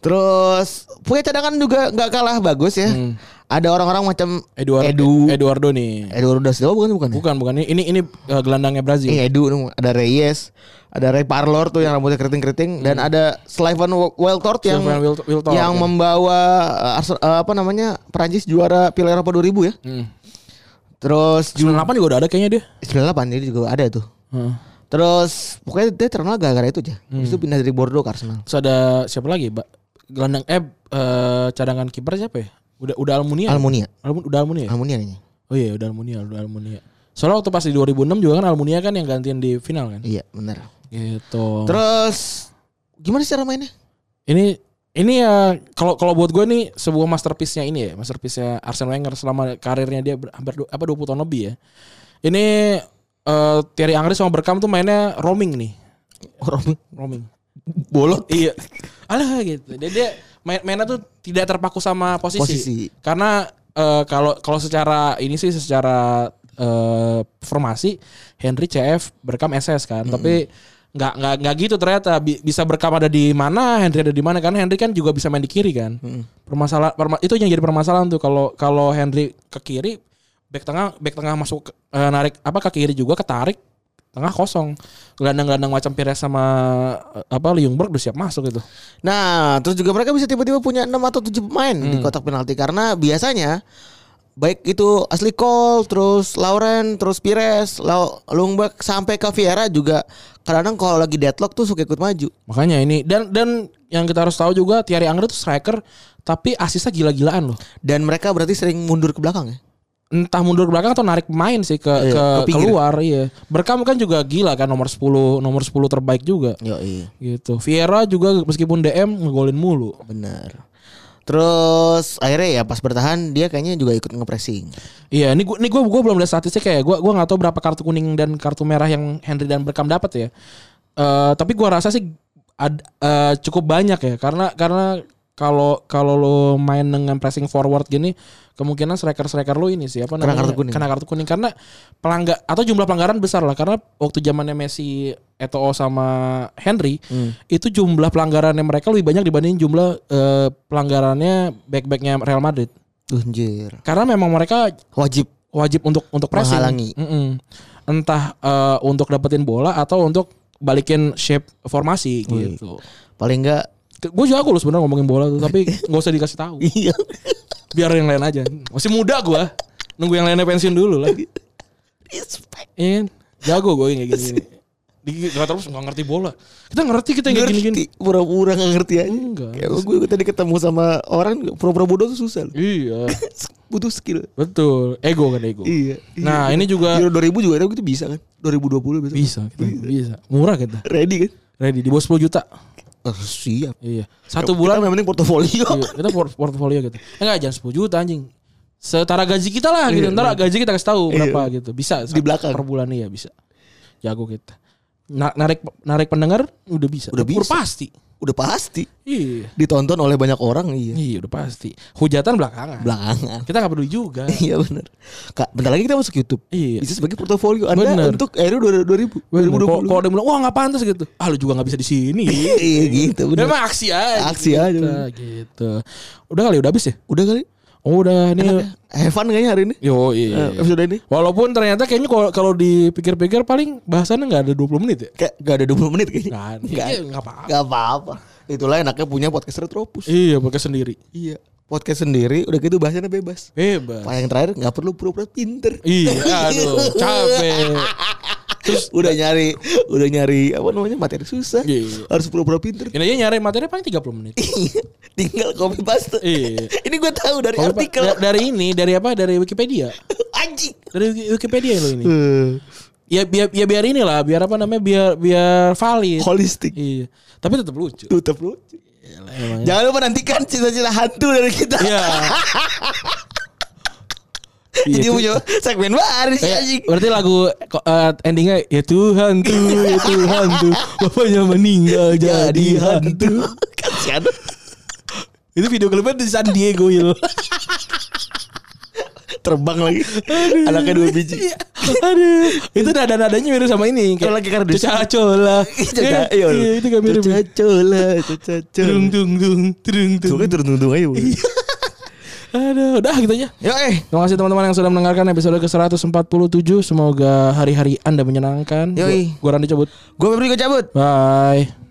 Speaker 3: Terus punya cadangan juga nggak kalah bagus ya.
Speaker 2: Hmm.
Speaker 3: Ada orang-orang macam
Speaker 2: Eduardo
Speaker 3: Edu.
Speaker 2: Eduardo nih.
Speaker 3: Eduardo da Silva bukan bukan? ya?
Speaker 2: Bukan, bukan. Ini ini eh, gelandangnya Brazil.
Speaker 3: Iya Edu ada Reyes, ada Ray Parlor tuh yang rambutnya keriting-keriting dan ada Slaven Wiltord yang
Speaker 2: Slaven Wil- Wiltord,
Speaker 3: yang
Speaker 2: Hmm. ya.
Speaker 3: membawa eh, Arse- eh, apa namanya Perancis juara Piala Eropa 2000 ya.
Speaker 2: Hmm.
Speaker 3: Terus ju-
Speaker 2: 98 juga udah ada kayaknya dia.
Speaker 3: 98 jadi juga ada tuh.
Speaker 2: Heeh.
Speaker 3: Terus pokoknya dia terkenal gara-gara itu aja. Habis itu pindah dari Bordeaux ke Arsenal.
Speaker 2: Terus ada siapa lagi? Ba gelandang eh eh, cadangan kiper siapa ya? Udah udah Almunia.
Speaker 3: Almunia.
Speaker 2: Almun udah Almunia. ya?
Speaker 3: Almunia kayaknya.
Speaker 2: Oh iya, udah Almunia, udah Almunia. Soalnya waktu pas di 2006 juga kan Almunia kan yang gantiin di final kan.
Speaker 3: Iya, benar.
Speaker 2: Gitu.
Speaker 3: Terus gimana sih cara mainnya?
Speaker 2: ini ini ya kalau kalau buat gue nih sebuah masterpiece-nya ini ya, masterpiece-nya Arsene Wenger selama karirnya dia ber- hampir du- apa 20 tahun lebih ya. Ini eh Thierry Angri sama Berkam tuh mainnya roaming nih,
Speaker 3: Orang
Speaker 2: roaming.
Speaker 3: bolot. [laughs]
Speaker 2: Iya. Alah gitu. Dia, dia main mainnya tuh tidak terpaku sama posisi.
Speaker 3: Posisi.
Speaker 2: Karena eh, kalau kalau secara ini sih secara eh, formasi Henry CF Berkam SS kan, tapi nggak nggak nggak gitu ternyata Bi- bisa Berkam ada di mana, Henry ada di mana karena Henry kan juga bisa main di kiri kan. Permasalahan perma- itu yang jadi permasalahan tuh kalau kalau Henry ke kiri back tengah back tengah masuk ke- eh, narik apa ke kiri juga ketarik tengah kosong gelandang-gelandang macam Pires sama eh, apa Liungberg udah siap masuk gitu. itu
Speaker 3: Nah, terus juga mereka bisa tiba-tiba punya 6 atau 7 pemain di kotak penalti karena biasanya baik itu Asli Cole, terus Lauren, terus Pires, Lau Lungberg sampai ke Vieira juga kadang kalau lagi deadlock tuh suka ikut maju.
Speaker 2: makanya ini dan dan yang kita harus tahu juga Thierry Angri itu striker tapi asisnya gila-gilaan loh
Speaker 3: Dan mereka berarti sering mundur ke belakang ya.
Speaker 2: entah mundur ke belakang atau narik main sih ke,
Speaker 3: Iya,
Speaker 2: ke,
Speaker 3: ke pinggir.
Speaker 2: keluar iya. Berkam kan juga gila kan nomor 10 nomor 10 terbaik juga
Speaker 3: Yo iya.
Speaker 2: gitu. Vieira juga meskipun DM ngegolin mulu.
Speaker 3: Bener. Terus akhirnya ya pas bertahan dia kayaknya juga ikut ngepressing.
Speaker 2: Iya, ini gua ini gua, gua belum lihat statistik kayak gua gua nggak tahu berapa kartu kuning dan kartu merah yang Henry dan Berkam dapat ya. Eh tapi gua rasa sih ad- eh, cukup banyak ya karena karena kalau kalau lo main dengan pressing forward gini kemungkinan striker-striker lo ini sih apa
Speaker 3: Kena
Speaker 2: namanya
Speaker 3: kartu kuning.
Speaker 2: kena kartu kuning karena pelangga atau jumlah pelanggaran besar lah karena waktu zamannya Messi, Eto'o sama Henry itu jumlah pelanggarannya mereka lebih banyak dibanding jumlah eh, pelanggarannya back-backnya Real Madrid
Speaker 3: Anjir.
Speaker 2: karena memang mereka
Speaker 3: Wajib
Speaker 2: wajib untuk untuk pressing.
Speaker 3: Menghalangi.
Speaker 2: Mm-mm. Entah eh, untuk dapetin bola atau untuk balikin shape formasi gitu.
Speaker 3: paling enggak
Speaker 2: Gue jago loh sebenarnya ngomongin bola tuh, tapi nggak usah dikasih tahu.
Speaker 3: [laughs] iya.
Speaker 2: Biar yang lain aja. Masih muda gua. Nunggu yang lainnya pensiun dulu
Speaker 3: [laughs]
Speaker 2: lah.
Speaker 3: Respect.
Speaker 2: Iya. kan? Jago gue kayak gini. Di, gak terus nggak ngerti bola. Kita ngerti kita yang kayak gini-gini.
Speaker 3: Ngerti, pura-pura gak ngerti aja.
Speaker 2: Enggak.
Speaker 3: Kayak gue tadi ketemu sama orang pura-pura bodoh tuh susah. loh.
Speaker 2: Iya,
Speaker 3: Butuh skill.
Speaker 2: betul. Ego kan ego.
Speaker 3: Iya.
Speaker 2: Nah, ini juga
Speaker 3: Euro 2000 juga ada gitu bisa kan? 2020 bisa.
Speaker 2: bisa kita
Speaker 3: Iya.
Speaker 2: bisa. Murah kita.
Speaker 3: Ready kan?
Speaker 2: Ready di bawah 10 juta.
Speaker 3: Oh, siap.
Speaker 2: Iya. Satu bulan
Speaker 3: yang penting portofolio.
Speaker 2: Iya, kita por- portfolio gitu. Enggak jangan 10 juta anjing. Setara gaji kita lah gitu. Ntar gaji kita kasih tahu berapa gitu. Bisa
Speaker 3: Iya, Di belakang.
Speaker 2: per bulan iya bisa. Jago kita. Na- narik narik pendengar udah bisa.
Speaker 3: Udah bisa.
Speaker 2: pasti.
Speaker 3: Udah pasti
Speaker 2: Iya.
Speaker 3: ditonton oleh banyak orang iya.
Speaker 2: Iya udah pasti. Hujatan belakangan.
Speaker 3: Belakangan.
Speaker 2: kita nggak peduli juga.
Speaker 3: [laughs] Iya benar. Kak, bentar lagi kita masuk YouTube.
Speaker 2: Iya.
Speaker 3: Bisa sebagai portofolio Anda
Speaker 2: Bener.
Speaker 3: untuk Aero 2000
Speaker 2: Kok
Speaker 3: 2020.
Speaker 2: kok ada yang bilang wah nggak pantas gitu. Ah lu juga nggak bisa di sini. [laughs]
Speaker 3: Iya gitu benar.
Speaker 2: Memang aksi aja.
Speaker 3: Aksi aja,
Speaker 2: Kita,
Speaker 3: bener.
Speaker 2: gitu. Udah kali udah habis ya?
Speaker 3: Udah kali.
Speaker 2: Oh, udah ini.
Speaker 3: Have fun kayaknya hari ini.
Speaker 2: Yo, iya.
Speaker 3: ya? Eh, episode ini.
Speaker 2: Walaupun ternyata kayaknya kalau kalau dipikir-pikir paling bahasannya nggak ada 20 menit ya.
Speaker 3: Kayak gak ada 20 menit kayaknya.
Speaker 2: Kan.
Speaker 3: Nggak.
Speaker 2: Iya, nggak apa-apa.
Speaker 3: Gak apa-apa. Itulah enaknya punya podcast Retropus.
Speaker 2: Iya, pakai sendiri.
Speaker 3: Iya. Podcast sendiri udah gitu bahasanya bebas.
Speaker 2: Bebas.
Speaker 3: Yang terakhir nggak perlu pura-pura pinter.
Speaker 2: Iya, aduh,
Speaker 3: [laughs]
Speaker 2: capek.
Speaker 3: Terus udah nyari udah nyari apa namanya materi susah.
Speaker 2: Iya.
Speaker 3: Harus pura-pura pinter.
Speaker 2: Ini aja nyari materi paling 30 menit.
Speaker 3: Iya. Tinggal copy paste.
Speaker 2: Iya.
Speaker 3: [laughs] ini gue tahu dari
Speaker 2: Kalau
Speaker 3: artikel.
Speaker 2: da- dari ini, dari apa? Dari Wikipedia.
Speaker 3: Anjing.
Speaker 2: Dari Wiki- Wikipedia lo ini. Ya biar ya biar inilah, biar apa namanya? Biar biar valid.
Speaker 3: Holistik.
Speaker 2: Iya. Tapi tetap lucu.
Speaker 3: Tutup lu.
Speaker 2: Emangnya.
Speaker 3: Jangan lupa nantikan cita-cita hantu dari kita.
Speaker 2: Iya. Iya,
Speaker 3: Dia
Speaker 2: itu-
Speaker 3: punya segmen baru sih
Speaker 2: Kayak,
Speaker 3: Iya, anjing.
Speaker 2: berarti lagu ko- eh, endingnya ya Tuhan tuh ya Tuhan tuh bapaknya meninggal jadi
Speaker 3: [laughs]
Speaker 2: hantu
Speaker 3: Kasihan.
Speaker 2: itu video klipnya di San Diego ya
Speaker 3: Terbang lagi. Anaknya dua biji.
Speaker 2: Iya. aduh itu nada nadanya mirip sama ini
Speaker 3: Kalau lagi kardus.
Speaker 2: Caca
Speaker 3: [laughs]
Speaker 2: cola
Speaker 3: Caca,
Speaker 2: iya
Speaker 3: iya.
Speaker 2: iya, itu kan mirip
Speaker 3: Caca cola, caca
Speaker 2: dung
Speaker 3: cola.
Speaker 2: dung dung Iya. dung dung
Speaker 3: Tunggu turun tunggu ayo.
Speaker 2: aduh udah gitu aja
Speaker 3: Yo eh.
Speaker 2: Terima kasih teman-teman yang sudah mendengarkan episode ke-147. Semoga hari-hari Anda menyenangkan.
Speaker 3: Yoi.
Speaker 2: Gua, gua Randy cabut.
Speaker 3: Gue pergi gue cabut.
Speaker 2: Bye.